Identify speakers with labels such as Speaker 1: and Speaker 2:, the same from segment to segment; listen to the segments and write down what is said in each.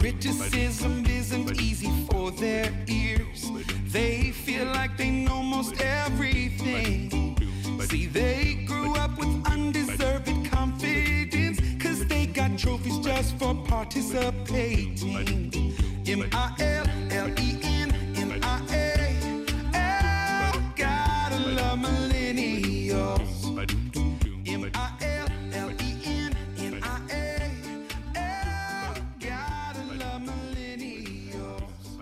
Speaker 1: Criticism isn't easy for their ears. They feel like they know most everything. See, they grew up with undeserved confidence. Cause they got trophies just for participating. M I L L E N N I A. Oh, gotta love millennials. M I L L E N N I A. E Oh, gotta love millennials.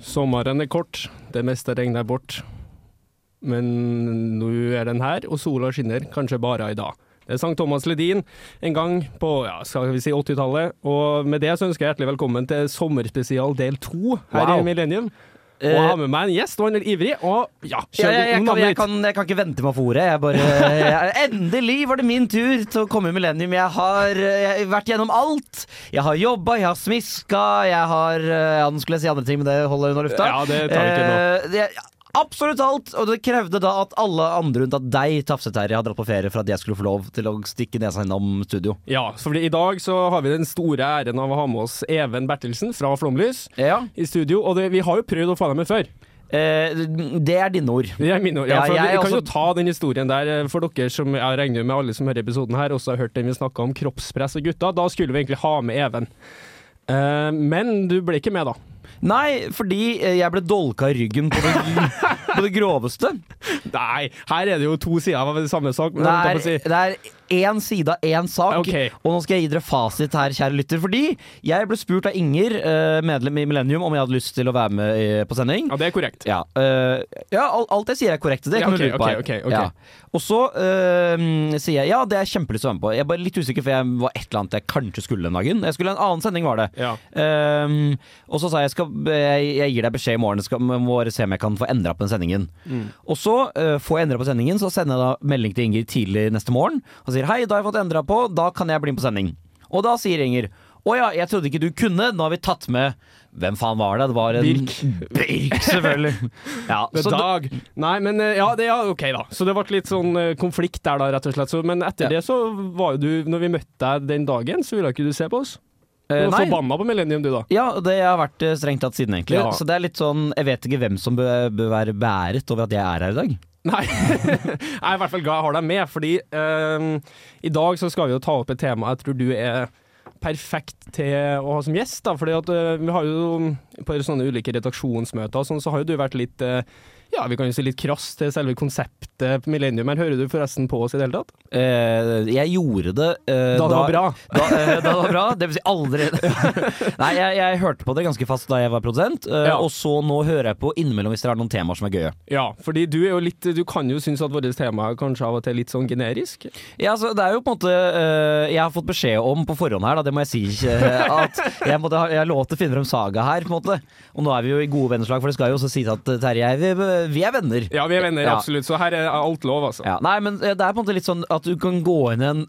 Speaker 2: Sommeren er kort, det meste regner bort. Men nå er den her, og sola skinner, kanskje bare i dag. Det sang Thomas Ledin en gang på ja, skal vi si 80-tallet. Og med det så ønsker jeg hjertelig velkommen til sommerspesial del to her
Speaker 3: Wow.
Speaker 2: i Millennium. Og jeg
Speaker 3: Eh,
Speaker 2: har med meg en gjest, og han er ivrig. Og ja,
Speaker 3: Ja,
Speaker 2: kjør
Speaker 3: jeg, jeg,
Speaker 2: om
Speaker 3: kan,
Speaker 2: navnet
Speaker 3: jeg,
Speaker 2: ditt.
Speaker 3: kan, jeg kan ikke vente meg for ordet. Jeg bare, jeg, endelig var det min tur til å komme i Millennium. Jeg har, eh, jeg har vært gjennom alt. Jeg har jobba, jeg har smiska, jeg har eh, Ja, nå skulle jeg si andre ting, men det holder jeg under lufta.
Speaker 2: Ja, det tar vi ikke nå.
Speaker 3: Eh, det- Absolutt alt, og det krevde da at alle andre unntatt deg, Tafse-Terje, har dratt på ferie for at jeg skulle få lov til å stikke nesa innom studio.
Speaker 2: Ja, så fordi i dag så har vi den store æren av å ha med oss Even Bertelsen fra Flomlys
Speaker 3: Ja.
Speaker 2: i studio. Og det, vi har jo prøvd å få deg med før.
Speaker 3: Eh, det er dine ord.
Speaker 2: Jeg minner, ja,
Speaker 3: Ja,
Speaker 2: for
Speaker 3: jeg
Speaker 2: vi kan jo
Speaker 3: også-
Speaker 2: ta den historien der eh, for dere som jeg regner med alle som hører episoden her, også har hørt den vi snakka om kroppspress og gutta. Da skulle vi egentlig ha med Even. Eh, men du ble ikke med, da.
Speaker 3: Nei, fordi eh, jeg ble dolka i ryggen på det, på det groveste.
Speaker 2: Nei, her er det jo to sider av samme sak. Men
Speaker 3: Det
Speaker 2: jeg holdt
Speaker 3: er,
Speaker 2: på å si.
Speaker 3: det er én side av én sak,
Speaker 2: Ok.
Speaker 3: og nå skal jeg gi dere fasit her, kjære lytter. Fordi jeg ble spurt av Inger, eh, medlem i Millennium, om jeg hadde lyst til å være med eh, på sending.
Speaker 2: Ja, det er korrekt.
Speaker 3: Ja, eh, ja al- alt jeg sier er korrekt. Det
Speaker 2: Ja,
Speaker 3: kan
Speaker 2: ok,
Speaker 3: du tro på.
Speaker 2: ok,
Speaker 3: her.
Speaker 2: ok, ok.
Speaker 3: Ja. Og så eh, sier jeg ja, det er kjempelyst til å være med på. Jeg er bare litt usikker, for jeg var et eller annet jeg kanskje skulle den dagen. Jeg skulle en annen sending, var det.
Speaker 2: Ja.
Speaker 3: Ehm, og så sa jeg skal, jeg, jeg gir deg beskjed i morgen, skal, må bare se om jeg kan få endra på den sendingen.
Speaker 2: Mm.
Speaker 3: Og så eh, får jeg endra på sendingen, så sender jeg da melding til Inger tidlig neste morgen og sier hei, da har jeg fått endra på, da kan jeg bli med på sending. Og da sier Inger å ja, jeg trodde ikke du kunne, nå har vi tatt med Hvem faen var det? Det var en
Speaker 2: Birk.
Speaker 3: Birk, selvfølgelig. ja,
Speaker 2: Med
Speaker 3: så da-
Speaker 2: Dag. Nei, men eh, ja, det, ja, OK, da. Så det ble litt sånn eh, konflikt der, da, rett og slett. Så, men etter
Speaker 3: Ja.
Speaker 2: det så var jo du Når vi møtte deg den dagen, så ville ikke du se på oss. Du
Speaker 3: eh,
Speaker 2: var
Speaker 3: nei.
Speaker 2: forbanna på Millennium, du, da.
Speaker 3: Ja, og det har vært eh, strengt tatt siden, egentlig.
Speaker 2: Ja.
Speaker 3: Så det er litt sånn Jeg vet ikke hvem som bør, bør være bæret over at jeg er her i dag.
Speaker 2: Nei, jeg er i hvert fall glad jeg har deg med, fordi ehm, i dag så skal vi jo ta opp et tema jeg tror du er perfekt til å ha som gjest. da, fordi at eh, vi har jo på sånne ulike redaksjonsmøter og sånn, så har jo du vært litt eh, ja, vi kan jo si litt krass til selve konseptet på Millennium. her. Hører du forresten på oss i det hele tatt?
Speaker 3: Eh, jeg gjorde det eh,
Speaker 2: Da det var bra.
Speaker 3: Da, eh, da det var bra. Det vil si aldri. Nei, jeg, jeg hørte på det ganske fast da jeg var produsent, eh,
Speaker 2: Ja.
Speaker 3: og så nå hører jeg på innimellom hvis dere har noen temaer som er gøye.
Speaker 2: Ja, fordi du er jo litt Du kan jo synes at vårt tema kanskje av og til er litt sånn generisk.
Speaker 3: Ja, altså, det er jo på en måte eh, Jeg har fått beskjed om på forhånd her, da, det må jeg si, eh, at jeg, måtte, ha- jeg har lov til å finne frem saga her, på en måte. Og nå er vi jo i gode venneslag, for det skal jo også sies at eh, Terje, vi, vi er venner.
Speaker 2: Ja, vi er venner,
Speaker 3: Ja.
Speaker 2: absolutt, så her er alt lov, altså.
Speaker 3: Ja, nei, men eh, det er på en måte litt sånn at du kan gå inn i en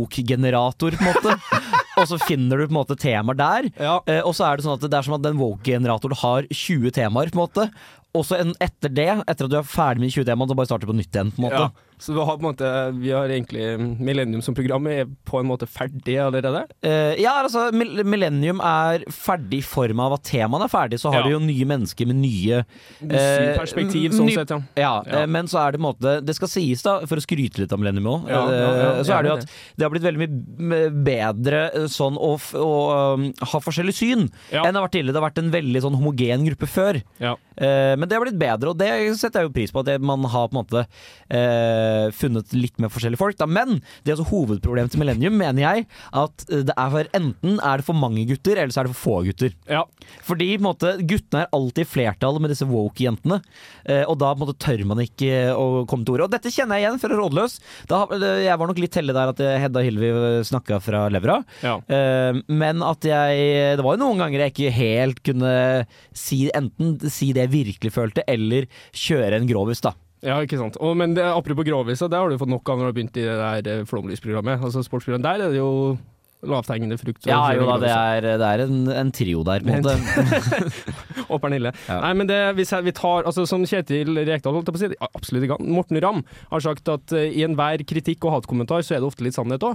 Speaker 3: woke-generator, på en måte. og så finner du på en måte temaer der.
Speaker 2: Ja.
Speaker 3: Eh, og så er det sånn at det er som at den woke-generatoren har 20 temaer, på en måte. Og så en- etter det, etter at du er ferdig med de 20 temaene, så bare starter du på nytt igjen, på en
Speaker 2: Ja,
Speaker 3: måte.
Speaker 2: så vi har på en måte, vi har egentlig Millennium som program er på en måte ferdig allerede.
Speaker 3: Eh, ja, altså, mil- Millennium er ferdig i form av at temaene er ferdig, så har
Speaker 2: Ja.
Speaker 3: du jo nye mennesker med nye
Speaker 2: Nytt
Speaker 3: eh,
Speaker 2: perspektiv, sånn
Speaker 3: ny-
Speaker 2: sett, ja.
Speaker 3: Ja,
Speaker 2: Ja.
Speaker 3: eh, men så er det på en måte Det skal sies, da, for å skryte litt av Millennium òg,
Speaker 2: Ja, ja, ja,
Speaker 3: så er det jo
Speaker 2: gjerne
Speaker 3: at det har blitt veldig mye m- bedre eh, sånn å, f å um, ha forskjellig syn
Speaker 2: Ja.
Speaker 3: enn det har vært tidligere. Det har vært en veldig sånn homogen gruppe før.
Speaker 2: Ja.
Speaker 3: Eh, Men det har blitt bedre, og det setter jeg jo pris på. At det- man har på en måte eh, funnet litt mer forskjellige folk. Da. Men det er altså hovedproblemet til Millennium, mener jeg, at eh, det er for, enten er det for mange gutter, eller så er det for få gutter.
Speaker 2: Ja.
Speaker 3: Fordi på en måte, guttene er alltid i flertall med disse woke-jentene. eh, Og da på en måte, tør man ikke eh, å komme til ordet. Og dette kjenner jeg igjen fra Rådløs. Da, eh, jeg var nok litt heldig der at eh, Hedda Hilvi snakka fra levra.
Speaker 2: Ja.
Speaker 3: Eh, Men at jeg Det var jo noen ganger jeg ikke helt kunne si enten si det jeg virkelig følte, eller kjøre en grovis, da.
Speaker 2: ikke sant. Og, men det, apropos grovisa, det har du fått nok av når du har begynt i det der eh, flomlysprogrammet. Altså sportsprogrammet. Der er det jo lavthengende frukt. så
Speaker 3: Ja,
Speaker 2: kjører
Speaker 3: jo da,
Speaker 2: vi
Speaker 3: det
Speaker 2: også.
Speaker 3: er, det er en, en trio der, på en måte.
Speaker 2: Og Pernille.
Speaker 3: Ja.
Speaker 2: Nei, men det, hvis jeg, vi tar, altså Som Kjetil Rekdal holdt jeg på å si, ja, absolutt ikke han. Morten Ramm har sagt at eh, i enhver kritikk og hatkommentar, så er det ofte litt sannhet òg.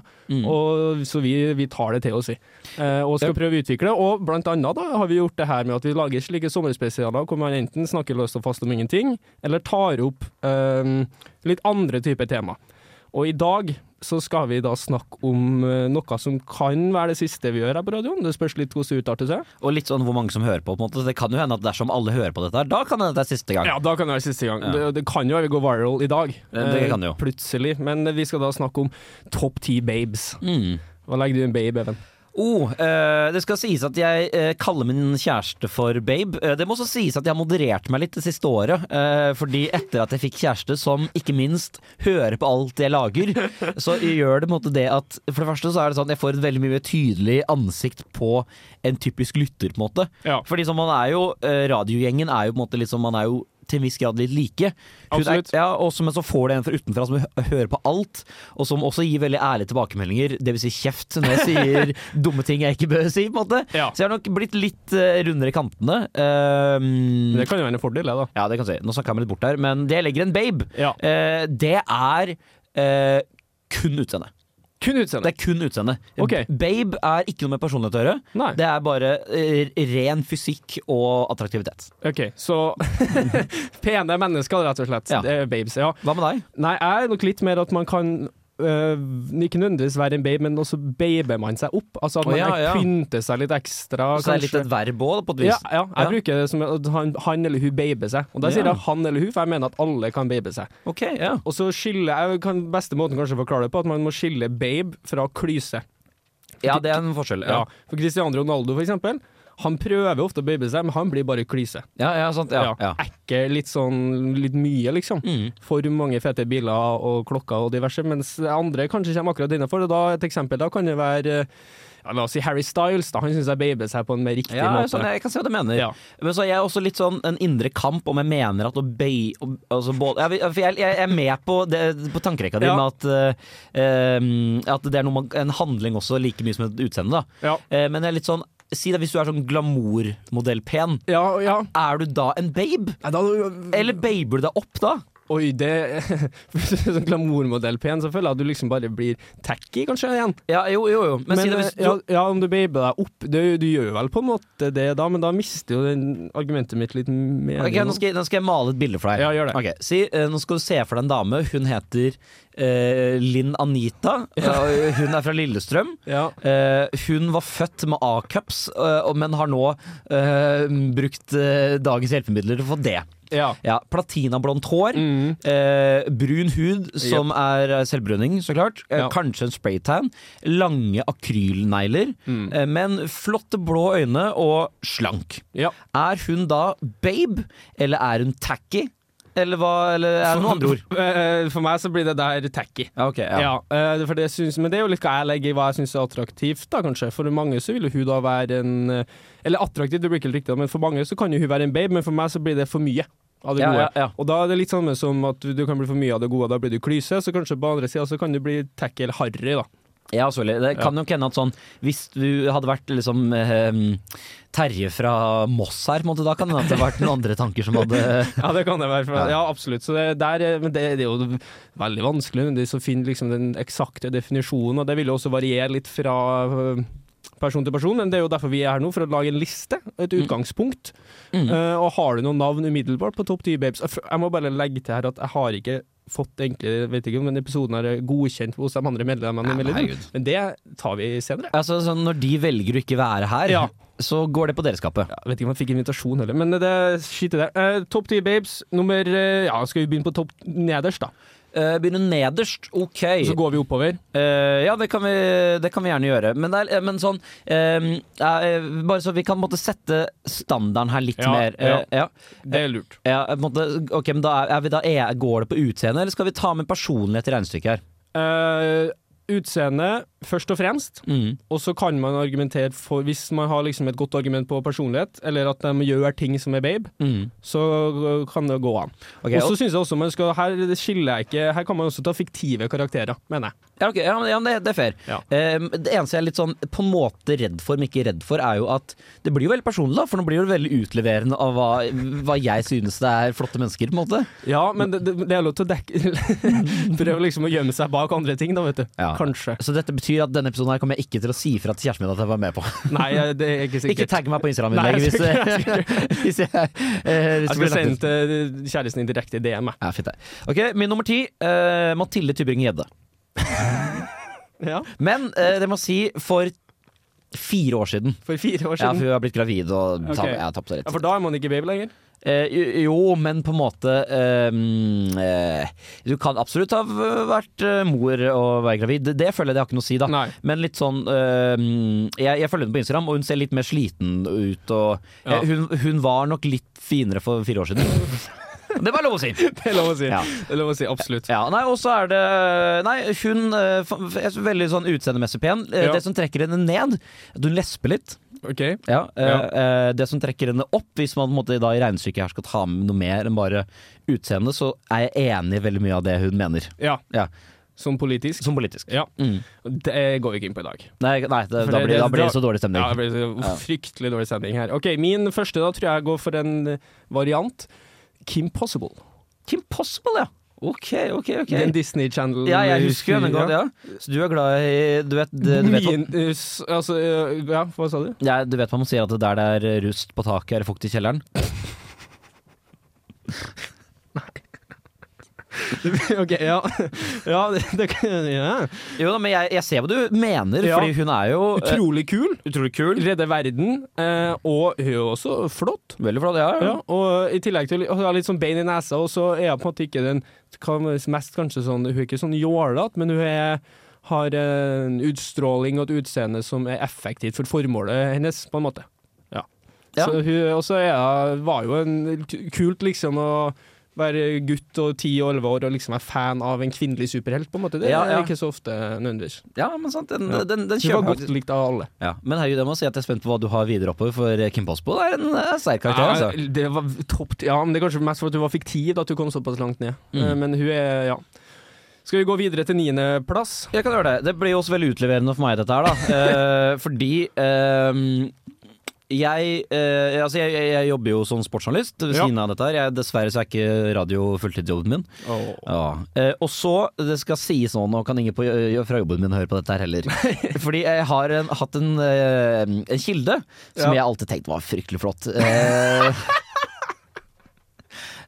Speaker 2: Så vi, vi tar det til oss, vi. Eh, og skal prøve å utvikle. Og blant annet da, har vi gjort det her med at vi lager slike sommerspesialer hvor man enten snakker løst og fast om ingenting, eller tar opp eh, litt andre typer tema. Og i dag så skal vi da snakke om eh, noe som kan være det siste vi gjør her på radioen. Det spørs litt hvordan det utarter seg.
Speaker 3: Og litt sånn hvor mange som hører på, på en måte. Så Det kan jo hende at dersom alle hører på dette her, da kan det hende at det er siste gang.
Speaker 2: Ja, da kan det være siste gang.
Speaker 3: Ja.
Speaker 2: Det, det kan jo være vi går viral i dag.
Speaker 3: det
Speaker 2: Eh,
Speaker 3: kan det jo.
Speaker 2: Plutselig. Men eh, vi skal da snakke om topp ti babes.
Speaker 3: Mm.
Speaker 2: Hva legger du i en babe, Even?
Speaker 3: Oh, eh, det skal sies at jeg eh, kaller min kjæreste for babe. Eh, det må også sies at jeg har moderert meg litt det siste året. eh, fordi etter at jeg fikk kjæreste som ikke minst hører på alt jeg lager, så gjør det på en måte det at For det første så er det sånn at jeg får et veldig mye tydelig ansikt på en typisk lytter, på en måte.
Speaker 2: Ja.
Speaker 3: Fordi som man er jo, eh, radiogjengen er jo på en måte litt sånn, man er jo til en viss grad litt like. Hun er-
Speaker 2: Absolutt.
Speaker 3: ja, også, men så får du en fra utenfra som hø- hører på alt, og som også gir veldig ærlige tilbakemeldinger, dvs. Si kjeft, når jeg sier dumme ting jeg ikke bør si, på en måte.
Speaker 2: Ja.
Speaker 3: Så jeg har nok blitt litt eh, rundere i kantene. Ehm,
Speaker 2: Mm. Det kan jo være en fordel, det, da.
Speaker 3: ja, det kan jeg si. Nå snakka jeg meg litt bort der, men det jeg legger i en babe,
Speaker 2: Ja.
Speaker 3: eh, det er eh, kun utseende.
Speaker 2: Kun
Speaker 3: Det
Speaker 2: utseende.
Speaker 3: er kun utseende.
Speaker 2: Ok.
Speaker 3: B- Babe er ikke noe med personlighet å gjøre.
Speaker 2: Nei.
Speaker 3: Det er bare eh, ren fysikk og attraktivitet.
Speaker 2: OK, så Pene mennesker, rett og slett.
Speaker 3: Ja.
Speaker 2: Det er babes. Ja.
Speaker 3: Hva med deg?
Speaker 2: Nei, jeg er nok litt mer at man kan øh, ikke nødvendigvis være en babe, men også baber man seg opp. Altså at
Speaker 3: Å,
Speaker 2: man
Speaker 3: ja, ja.
Speaker 2: pynter seg litt ekstra.
Speaker 3: Så det er litt
Speaker 2: kanskje.
Speaker 3: et verb òg, på et
Speaker 2: Ja,
Speaker 3: vis.
Speaker 2: ja, jeg
Speaker 3: Ja.
Speaker 2: bruker det som at han, han eller hun baber seg. Og da sier
Speaker 3: Ja.
Speaker 2: jeg han eller hun, for jeg mener at alle kan babe seg.
Speaker 3: Ok, ja.
Speaker 2: Og så skille, jeg kan Beste måten kanskje å forklare det på, at man må skille babe fra klyse.
Speaker 3: ja, det er en forskjell.
Speaker 2: Ja.
Speaker 3: Ja,
Speaker 2: For Cristiano Ronaldo, for eksempel, han prøver ofte å babe seg, men han blir bare klyse.
Speaker 3: ja, ja sant. Ja, ja.
Speaker 2: Ekkel, litt sånn litt mye, liksom.
Speaker 3: Mm.
Speaker 2: For mange fete biler og klokker og diverse, mens andre kanskje kommer akkurat innenfor. Og da, et eksempel da kan det være eh, ja, La oss si Harry Styles, da. Han syns jeg baber seg på en mer riktig
Speaker 3: Ja,
Speaker 2: måte.
Speaker 3: sånn, jeg kan se hva du mener.
Speaker 2: Ja.
Speaker 3: Men så er jeg også litt sånn en indre kamp om jeg mener at å bay om- altså, både, jeg, vil- for jeg, jeg er med på, det, på tankerekka di
Speaker 2: Ja.
Speaker 3: med at, eh, um, at det er noe man, en handling også like mye som et utseende. Da.
Speaker 2: Ja.
Speaker 3: Eh, men jeg er litt sånn Si det hvis du er sånn glamourmodell-pen.
Speaker 2: ja, ja.
Speaker 3: Er du da en babe?
Speaker 2: Nei, da
Speaker 3: Eller baber du deg opp da?
Speaker 2: Oi, det Hvis du er sånn glamourmodell-pen, så føler jeg at du liksom bare blir tacky, kanskje, igjen.
Speaker 3: Ja, jo, jo, jo.
Speaker 2: Men,
Speaker 3: Men, si det hvis
Speaker 2: eh, ja,
Speaker 3: du
Speaker 2: ja, om du baber deg opp det, Du gjør jo vel på en måte det da, men da mister jo den argumentet mitt litt mening.
Speaker 3: Ok, nå skal, jeg, nå skal jeg male et bilde for deg.
Speaker 2: Ja, gjør det.
Speaker 3: Ok, si, eh, nå skal du se for deg en dame. Hun heter eh, Linn Anita. Eh, hun er fra Lillestrøm.
Speaker 2: ja.
Speaker 3: Eh, hun var født med A-cups, eh, og- men har nå eh, brukt eh, dagens hjelpemidler for det.
Speaker 2: ja.
Speaker 3: Ja, Platinablondt hår,
Speaker 2: Mm.
Speaker 3: eh, brun hud, som er eh, selvbruning, så klart. Eh,
Speaker 2: Ja.
Speaker 3: Kanskje en spraytan. Lange akrylnegler, eh, men flotte blå øyne og slank.
Speaker 2: ja.
Speaker 3: Er hun da babe, eller er hun tacky? Eller hva, eller er det noen andre ord?
Speaker 2: Eh, For meg så blir det der tacky.
Speaker 3: Ja, ok, ja.
Speaker 2: Ja, eh, for det syns, men det er jo litt hva jeg legger i hva jeg syns er attraktivt, da, kanskje. For mange så vil jo hun da være en eh, Eller attraktiv, det blir ikke helt riktig, men for mange så kan jo hun være en babe, men for meg så blir det for mye. Av det
Speaker 3: Ja,
Speaker 2: gode.
Speaker 3: ja, ja.
Speaker 2: Og da er det litt samme som at du kan bli for mye av det gode, da blir du klyse. Så kanskje på andre sida så kan du bli tacky eller harry, da.
Speaker 3: Ja, selvfølgelig. Det kan nok hende at sånn Hvis du hadde vært liksom eh, Terje fra Moss her, på en måte, da kan det hende at det hadde vært noen andre tanker som hadde
Speaker 2: Ja, det kan det være. For,
Speaker 3: Ja.
Speaker 2: ja, absolutt. Så det, der, er- men det, det er jo veldig vanskelig nødvendigvis å finne liksom, den eksakte definisjonen, og det vil jo også variere litt fra øh, person til person, men det er jo derfor vi er her nå, for å lage en liste, et utgangspunkt.
Speaker 3: Mm.
Speaker 2: Eh, og har du noen navn umiddelbart på topp 10 babes? Jeg f- Jeg må bare legge til her at jeg har ikke fått egentlig, jeg vet ikke om den episoden er eh, godkjent hos de andre medlemmene, i
Speaker 3: Nei, men
Speaker 2: Melodien,
Speaker 3: herregud.
Speaker 2: men det tar vi senere.
Speaker 3: Altså, sånn, Når de velger å ikke være her,
Speaker 2: Ja.
Speaker 3: så går det på deres kappe.
Speaker 2: Jeg vet ikke om jeg fikk invitasjon heller, men det skiter der. Eh, topp 10 babes, nummer eh, Ja, skal vi begynne på topp nederst, da?
Speaker 3: Eh, begynner nederst, OK.
Speaker 2: Så går vi oppover.
Speaker 3: Eh, ja, det kan, vi, det kan vi gjerne gjøre. Men, det er, men sånn eh, eh, Bare så vi kan på en måte sette standarden her litt
Speaker 2: Ja,
Speaker 3: mer. Eh, ja.
Speaker 2: Det er lurt.
Speaker 3: Ja, på en måte, ok, men da er, er vi da, er, Går det på utseende, eller skal vi ta med personlighet i regnestykket her?
Speaker 2: Eh, utseende, først og fremst.
Speaker 3: Mm.
Speaker 2: Og så kan man argumentere for, hvis man har liksom et godt argument på personlighet, eller at de gjør ting som er babe,
Speaker 3: Mm.
Speaker 2: så øh, kan det gå an.
Speaker 3: Ok,
Speaker 2: og
Speaker 3: og-
Speaker 2: så synes jeg også man skal, her skiller jeg ikke, her kan man også ta fiktive karakterer, mener jeg.
Speaker 3: Ja, ok, ja, men- ja men det, det er fair.
Speaker 2: Ja.
Speaker 3: Eh, det eneste jeg er litt sånn på en måte redd for, men ikke redd for, er jo at det blir jo veldig personlig, da. For nå blir det veldig utleverende av hva, hva jeg synes det er flotte mennesker, på en måte.
Speaker 2: Ja, men det, det, det er lov til å dekke Prøve liksom å gjemme seg bak andre ting, da, vet du.
Speaker 3: Ja.
Speaker 2: Kanskje.
Speaker 3: Så dette betyr at denne episoden her kommer jeg ikke til å si fra til kjæresten min at jeg var med på.
Speaker 2: Nei, jeg- det er ikke
Speaker 3: Ikke
Speaker 2: sikkert.
Speaker 3: tagg meg på
Speaker 2: Nei,
Speaker 3: Instagram-innlegget hvis, hvis jeg eh, hvis
Speaker 2: jeg
Speaker 3: det
Speaker 2: skal
Speaker 3: blir lagt
Speaker 2: sende
Speaker 3: ut.
Speaker 2: til kjæresten din direkte i DM. jeg.
Speaker 3: Ja, fint det. Ok, Min nummer ti, eh, Mathilde Tybring-Gjedde.
Speaker 2: Ja,
Speaker 3: Men eh, det må si for fire år siden.
Speaker 2: for fire år
Speaker 3: Ja, for
Speaker 2: siden.
Speaker 3: hun har blitt gravid og ta,
Speaker 2: Ok.
Speaker 3: ja, tapte
Speaker 2: Ja,
Speaker 3: rett.
Speaker 2: for da er man ikke baby lenger.
Speaker 3: Eh, jo- jo, men på en måte eh, mm, eh, Du kan absolutt ha v- vært eh, mor og være gravid. Det, det føler jeg det har ikke noe å si, da.
Speaker 2: Nei.
Speaker 3: Men litt sånn eh, mm, jeg, jeg følger henne på Instagram, og hun ser litt mer sliten ut. Og,
Speaker 2: Ja.
Speaker 3: eh, hun, hun var nok litt finere for fire år siden. det var lov å si!
Speaker 2: Det er lov å si.
Speaker 3: Ja.
Speaker 2: Det er lov å si, Absolutt.
Speaker 3: Ja, nei, og så er det Nei, hun eh, f- f- er veldig sånn utseendemessig pen. Eh,
Speaker 2: Ja.
Speaker 3: Det som trekker henne ned, at hun lesper litt.
Speaker 2: OK.
Speaker 3: Ja, eh,
Speaker 2: Ja.
Speaker 3: eh, Det som trekker henne opp, hvis man på en måte, da i regnestykket her skal ta med noe mer enn bare utseende, så er jeg enig i veldig mye av det hun mener.
Speaker 2: Ja,
Speaker 3: Ja,
Speaker 2: som politisk.
Speaker 3: Som politisk.
Speaker 2: Ja.
Speaker 3: Mm.
Speaker 2: Det går vi ikke inn på i dag.
Speaker 3: Nei, nei det,
Speaker 2: For
Speaker 3: da,
Speaker 2: det-
Speaker 3: blir, da
Speaker 2: det-
Speaker 3: blir det så dårlig stemning.
Speaker 2: Ja, det blir så fryktelig dårlig stemning her. OK, min første da tror jeg går for en eh, variant. Kim Possible.
Speaker 3: Kim Possible, ja! Ok, ok, ok.
Speaker 2: Den Disney Channel
Speaker 3: Ja, jeg husker henne godt, ja. Så du er glad i Du vet, du vet,
Speaker 2: Mye, eh, s- altså, eh, ja, hva sa du?
Speaker 3: ja, du vet hva man sier at det der det er rust på taket, er det fukt i kjelleren?
Speaker 2: ok, ja. ja, det, det, ja.
Speaker 3: Jo da, men jeg, jeg ser hva du mener,
Speaker 2: Ja.
Speaker 3: fordi hun er jo eh,
Speaker 2: Utrolig kul.
Speaker 3: utrolig kul.
Speaker 2: Redder verden. Eh, og hun er jo også flott.
Speaker 3: Veldig flott, ja.
Speaker 2: Ja, og i tillegg til å ha litt sånn bein i nesa, og så er hun på en måte ikke den hva man- mest kanskje sånn Hun er ikke sånn jålete, men hun er har en utstråling og et utseende som er effektivt for formålet hennes, på en måte. Ja.
Speaker 3: Ja.
Speaker 2: Så hun og så er hun- var jo en kult, liksom, å være gutt og ti og elleve år og liksom være fan av en kvinnelig superhelt, på en måte. Det
Speaker 3: Ja, ja.
Speaker 2: er ikke så ofte nødvendigvis.
Speaker 3: Ja, men sant, den,
Speaker 2: Ja.
Speaker 3: den,
Speaker 2: Hun
Speaker 3: den
Speaker 2: var
Speaker 3: kjøper
Speaker 2: godt likt av alle.
Speaker 3: Ja, men herregud, jeg må si at jeg er spent på hva du har videre oppover, for Kim Posbo er en eh, sterk karakter, altså.
Speaker 2: Ja, det var topp Ja, men det er kanskje mest for at hun var fiktiv at hun kom såpass langt ned.
Speaker 3: Mm.
Speaker 2: Eh, Men hun er Ja. Skal vi gå videre til niendeplass?
Speaker 3: Jeg kan gjøre det. Det blir jo også veldig utleverende for meg, dette her, da. Eh, fordi eh, jeg, eh, altså jeg, jeg, jeg jobber jo som sportsjournalist ved
Speaker 2: Ja.
Speaker 3: siden av dette her. Jeg, dessverre så er ikke radio fulltidsjobben min. Ja. Eh, og så, det skal sies nå, nå kan ingen på, fra jobben min høre på dette her heller. Fordi jeg har en, hatt en, eh, en kilde som
Speaker 2: Ja.
Speaker 3: jeg alltid tenkte var fryktelig flott. Eh,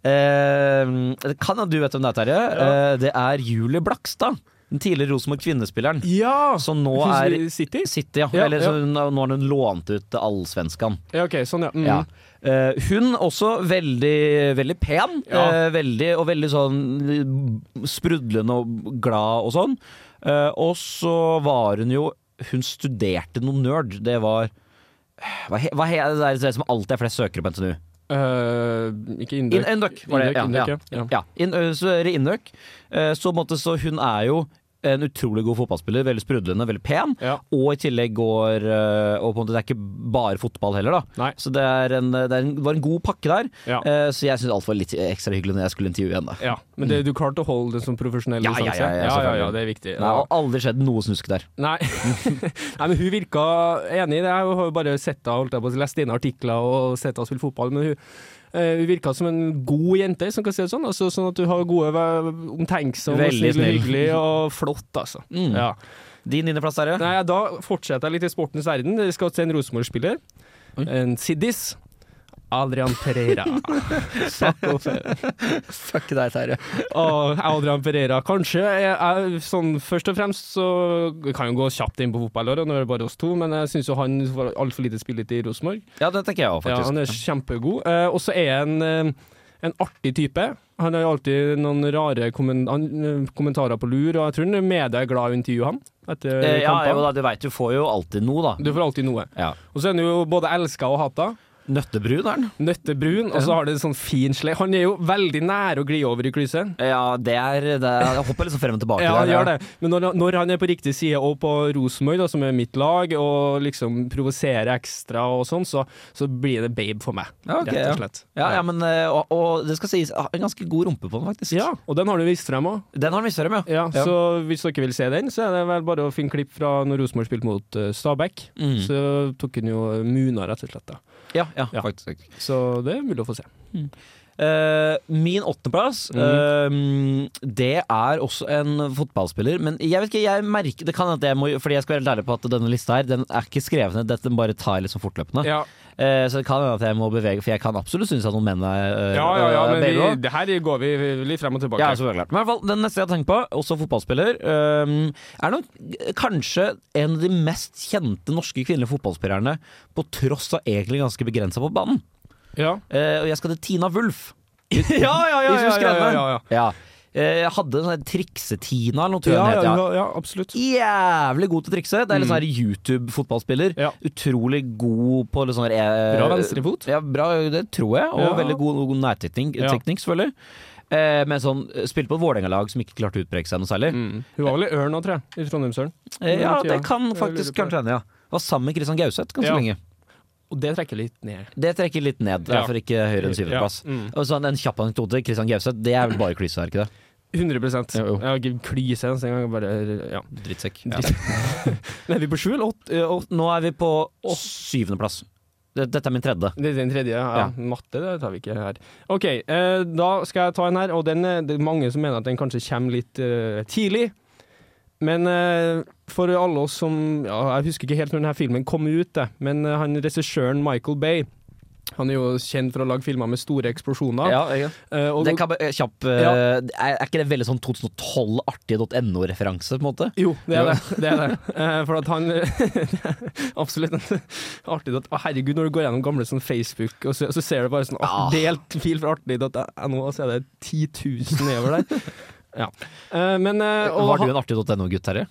Speaker 3: eh, det kan hende du vet hvem det er, Terje.
Speaker 2: Ja.
Speaker 3: Eh, det er Julie Blakstad. Den tidligere Rosenborg kvinnespilleren.
Speaker 2: Ja!
Speaker 3: Som nå er
Speaker 2: Hun- City?
Speaker 3: City, ja.
Speaker 2: Ja,
Speaker 3: Eller så
Speaker 2: ja.
Speaker 3: hun, nå har hun lånt ut til Allsvenskan.
Speaker 2: Ja, OK, sånn, ja. Mm.
Speaker 3: Ja. Eh, hun også veldig, veldig pen,
Speaker 2: Ja.
Speaker 3: eh, veldig, og veldig sånn eh, sprudlende og glad og sånn. Eh, og så var hun jo Hun studerte noe nerd. Det var hva he, hva he, det, er, det som alltid er flest søkere på NTNU.
Speaker 2: Eh, ikke Induk.
Speaker 3: In- Induc, var det.
Speaker 2: Induk,
Speaker 3: ja,
Speaker 2: Induk, ja.
Speaker 3: ja. ja. In, ø, så er det Induc. Eh, så, på en måte, så hun er jo en utrolig god fotballspiller. Veldig sprudlende, veldig pen.
Speaker 2: Ja.
Speaker 3: Og i tillegg går eh, Og på en måte, det er ikke bare fotball heller, da.
Speaker 2: Nei.
Speaker 3: Så det, er en, det, er en, det var en god pakke der.
Speaker 2: Ja.
Speaker 3: Eh, så jeg syns alt var litt ekstra hyggelig når jeg skulle intervjue henne.
Speaker 2: ja. Men det, du klarte å holde det som profesjonell
Speaker 3: Mm. Ja, ja,
Speaker 2: distanse?
Speaker 3: ja, ja,
Speaker 2: ja,
Speaker 3: selvfølgelig.
Speaker 2: ja, det er viktig.
Speaker 3: Det har aldri skjedd noe snusk der.
Speaker 2: Nei. Nei, men hun virka enig i det. Jeg har jo bare sett henne, holdt jeg på å si, lest dine artikler og sett henne spille fotball, men hun, eh, hun virka som en god jente, som kan si det sånn. Altså, sånn at hun har gode ve- omtenksom, og
Speaker 3: Veldig
Speaker 2: snill, og
Speaker 3: snill.
Speaker 2: hyggelig og flott, altså.
Speaker 3: Mm.
Speaker 2: Ja.
Speaker 3: Din inneplass der, ja.
Speaker 2: Nei, da fortsetter jeg litt i sportens verden. Vi skal til en Rosenborg-spiller.
Speaker 3: Oi.
Speaker 2: En siddis. Adrian Pereira. Fuck off.
Speaker 3: Fuck deg, Terje.
Speaker 2: Og Adrian Pereira, kanskje jeg, jeg, sånn, Først og fremst så vi kan jo gå kjapt inn på fotballåret, nå er det bare oss to, men jeg syns jo han får altfor lite spilletid i Rosenborg.
Speaker 3: Ja, det tenker jeg òg,
Speaker 2: Ja,
Speaker 3: faktisk.
Speaker 2: han er kjempegod. Eh, og så er han eh, en artig type. Han har jo alltid noen rare kommen han, eh, kommentarer på lur, og jeg tror media er glad i å intervjue han etter
Speaker 3: Eh, ja, jo
Speaker 2: kampene.
Speaker 3: da, du veit du får jo alltid noe, da.
Speaker 2: Du får alltid noe.
Speaker 3: Ja.
Speaker 2: Og så er han jo både elska og hata.
Speaker 3: Nøttebrun er den.
Speaker 2: Nøttebrun, og så har det en sånn fin sle... Han er jo veldig nær å gli over i klyse.
Speaker 3: Ja, det er, det er Jeg hopper liksom frem og tilbake
Speaker 2: Ja, han
Speaker 3: der.
Speaker 2: gjør det. Men når, når han er på riktig side og på Rosenborg, da, som er mitt lag, og liksom provoserer ekstra og sånn, så, så blir det babe for meg,
Speaker 3: Ja, ok,
Speaker 2: rett og slett.
Speaker 3: Ja, ja, men, eh, og, og det skal sies, ah, en ganske god rumpe på den, faktisk.
Speaker 2: Ja, og den har du vist frem òg.
Speaker 3: Den har han vist frem, ja.
Speaker 2: Ja,
Speaker 3: Ja.
Speaker 2: Så hvis dere vil se den, så er det vel bare å finne klipp fra når Rosenborg spilte mot eh, Stabæk.
Speaker 3: Mm.
Speaker 2: Så tok han jo eh, Muna, rett og slett. da
Speaker 3: Ja, ja,
Speaker 2: Ja.
Speaker 3: faktisk.
Speaker 2: Så det er mulig å få se.
Speaker 3: Eh, min åttendeplass,
Speaker 2: Mm.
Speaker 3: eh, det er også en fotballspiller. Men jeg vet ikke, jeg merker Det kan hende at jeg må Fordi jeg skal være helt ærlig på at denne lista her Den er ikke skrevet ned, dette bare tar jeg liksom fortløpende.
Speaker 2: Ja,
Speaker 3: Eh, så det kan hende at jeg må bevege For jeg kan absolutt synes at noen menn er eh,
Speaker 2: ja, ja,
Speaker 3: er
Speaker 2: men
Speaker 3: bedre
Speaker 2: vi,
Speaker 3: også.
Speaker 2: det her går vi litt frem og tilbake.
Speaker 3: Ja, selvfølgelig. Men i hvert fall, Den neste jeg tenker på, også fotballspiller, eh, er nok kanskje en av de mest kjente norske kvinnelige fotballspillerne, på tross av egentlig ganske begrensa på banen.
Speaker 2: ja.
Speaker 3: Eh, og jeg skal til Tina Wulf.
Speaker 2: ja, ja,
Speaker 3: Hvis du
Speaker 2: ja,
Speaker 3: skrev
Speaker 2: ja,
Speaker 3: den.
Speaker 2: ja, ja.
Speaker 3: Ja. Eh, Jeg hadde en sånn trikse-Tina eller noe, tror jeg
Speaker 2: Ja,
Speaker 3: den het.
Speaker 2: ja,
Speaker 3: Ja.
Speaker 2: ja, ja, absolutt.
Speaker 3: Jævlig god til å trikse. Det er litt sånn her YouTube-fotballspiller.
Speaker 2: Mm. Ja.
Speaker 3: Utrolig god på litt sånn her eh,
Speaker 2: Bra venstrefot.
Speaker 3: Ja, bra, det tror jeg. Og
Speaker 2: Ja.
Speaker 3: veldig god, god nærteknikk,
Speaker 2: Ja.
Speaker 3: teknikk, selvfølgelig. Eh, men sånn, spilte på et Vålerenga-lag som ikke klarte å utpreke seg noe særlig.
Speaker 2: Mm. Hun var vel i Ørn nå, tror jeg. I Trondheimsøren.
Speaker 3: Eh, ja,
Speaker 2: Tida.
Speaker 3: det kan
Speaker 2: Jeg lurer
Speaker 3: faktisk
Speaker 2: på det.
Speaker 3: kanskje hende, ja. Var sammen med Christian Gauseth ganske
Speaker 2: Ja.
Speaker 3: lenge.
Speaker 2: Og det trekker litt ned.
Speaker 3: Det trekker litt ned,
Speaker 2: Ja.
Speaker 3: derfor ikke høyere enn syvendeplass.
Speaker 2: Ja, mm.
Speaker 3: Og sånn, En kjapp anekdote. Christian Gauseth, det er vel bare klyse, er det ikke det?
Speaker 2: 100
Speaker 3: Jo, jo.
Speaker 2: Jeg har ikke klyse en gang. jeg Bare, ja.
Speaker 3: Drittsekk.
Speaker 2: Men er vi på sju eller åtte?
Speaker 3: Eh, Og nå er vi på syvendeplass. Det- Dette er min tredje.
Speaker 2: Det er den tredje, ja.
Speaker 3: Ja.
Speaker 2: Matte det tar vi ikke her. OK, eh, da skal jeg ta en her. Og den, er- det er mange som mener at den kanskje kommer litt eh, tidlig. Men eh, for alle oss som ja, Jeg husker ikke helt når denne filmen kom ut, det, men eh, han regissøren Michael Bay Han er jo kjent for å lage filmer med store eksplosjoner.
Speaker 3: Ja, jeg-
Speaker 2: Eh, og,
Speaker 3: det kan, bare- eh, kjapp, eh,
Speaker 2: Ja.
Speaker 3: er, er ikke det veldig sånn 2012-artig.no-referanse, på en måte?
Speaker 2: Jo, det er det. det, er det. Eh, for at han Absolutt en artig at, Å, herregud, når du går gjennom gamle sånn Facebook, og så, så ser du bare sånn ah.
Speaker 3: Ah.
Speaker 2: delt fil fra artig.no, og så er det 10 000 nedover der. Ja. Eh, men eh, og,
Speaker 3: Var du
Speaker 2: han-
Speaker 3: en artig.no-gutt, Terje?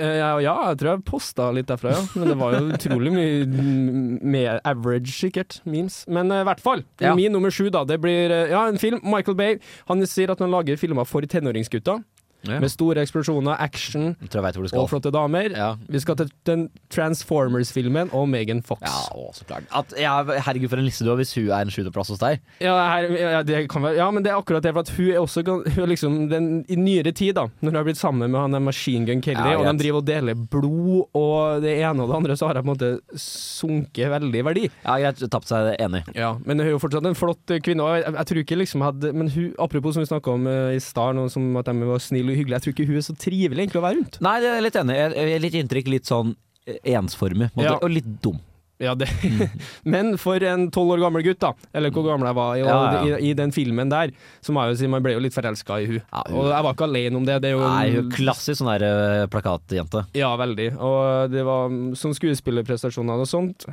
Speaker 2: eh, ja, ja, jeg tror jeg posta litt derfra, ja. Men det var jo utrolig mye m- mer average, sikkert. Memes. Men eh, i hvert fall.
Speaker 3: Ja.
Speaker 2: Min nummer sju, da. Det blir eh, ja, en film. Michael Bay. Han sier at han lager filmer for tenåringsgutter.
Speaker 3: Ja.
Speaker 2: Med store eksplosjoner, action
Speaker 3: Jeg tror jeg vet hvor du skal.
Speaker 2: og flotte damer.
Speaker 3: ja.
Speaker 2: Vi skal til den Transformers-filmen og Megan Fox.
Speaker 3: Ja, å, så klart. At, ja, herregud, for en liste du har hvis hun er en sjuendeplass hos deg.
Speaker 2: Ja, her, ja, det kan være, ja, men det er akkurat det. For at hun er også gan- hun er liksom den, i nyere tid, da når hun har blitt sammen med han der Machine Gun Kelly,
Speaker 3: Ja,
Speaker 2: og
Speaker 3: greit.
Speaker 2: de driver og deler blod og det ene og det andre, så har hun på en måte sunket veldig i verdi.
Speaker 3: Ja, greit, tapt seg, enig.
Speaker 2: Ja, men hun er jo fortsatt en flott eh, kvinne. Og jeg, jeg tror ikke liksom hadde, men hun, apropos som vi snakka om eh, i stad, noe som at de var snille og hyggelige, jeg tror ikke hun er så trivelig egentlig å være rundt.
Speaker 3: Nei, det er litt enig. Jeg- jeg- Litt inntrykk, litt sånn eh, ensformig, på en måte,
Speaker 2: Ja.
Speaker 3: og litt dum.
Speaker 2: Ja, det.
Speaker 3: Mhm.
Speaker 2: Men for en tolv år gammel gutt, da, eller hvor gammel jeg var i,
Speaker 3: Ja, ja.
Speaker 2: I, i den filmen der, så må jeg jo si man ble jo litt forelska i hun.
Speaker 3: Ja, hun-
Speaker 2: Og jeg var ikke alene om det. det er jo
Speaker 3: Nei, hun er klassisk sånn der eh, plakatjente.
Speaker 2: Ja, veldig. Og det var mm, sånn skuespillerprestasjoner og sånt.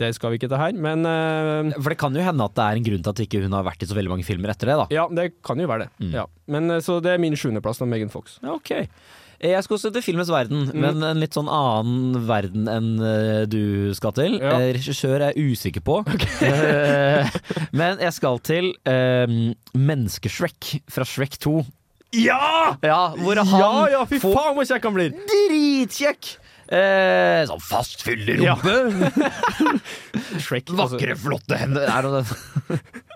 Speaker 2: Det skal vi ikke til her, men eh,
Speaker 3: For det kan jo hende at det er en grunn til at ikke hun har vært i så veldig mange filmer etter det, da.
Speaker 2: Ja, det kan jo være det.
Speaker 3: Mm.
Speaker 2: Ja. Men, eh, så det er min sjuendeplass av Megan Fox.
Speaker 3: Ja, Ok. Eh, Jeg skal også til filmens verden, men en litt sånn annen verden enn eh, du skal til.
Speaker 2: Ja.
Speaker 3: Eh, Regissør er jeg usikker på. Eh, men jeg skal til eh, Menneskeshrek fra Shrek 2.
Speaker 2: Ja!
Speaker 3: Ja, hvor han
Speaker 2: Ja, ja, fy
Speaker 3: får
Speaker 2: faen hvor kjekk han blir!
Speaker 3: dritkjekk eh, Sånn fast
Speaker 2: Ja.
Speaker 3: fyllerumpe,
Speaker 2: Shrek.
Speaker 3: vakre, flotte hender Er det noe-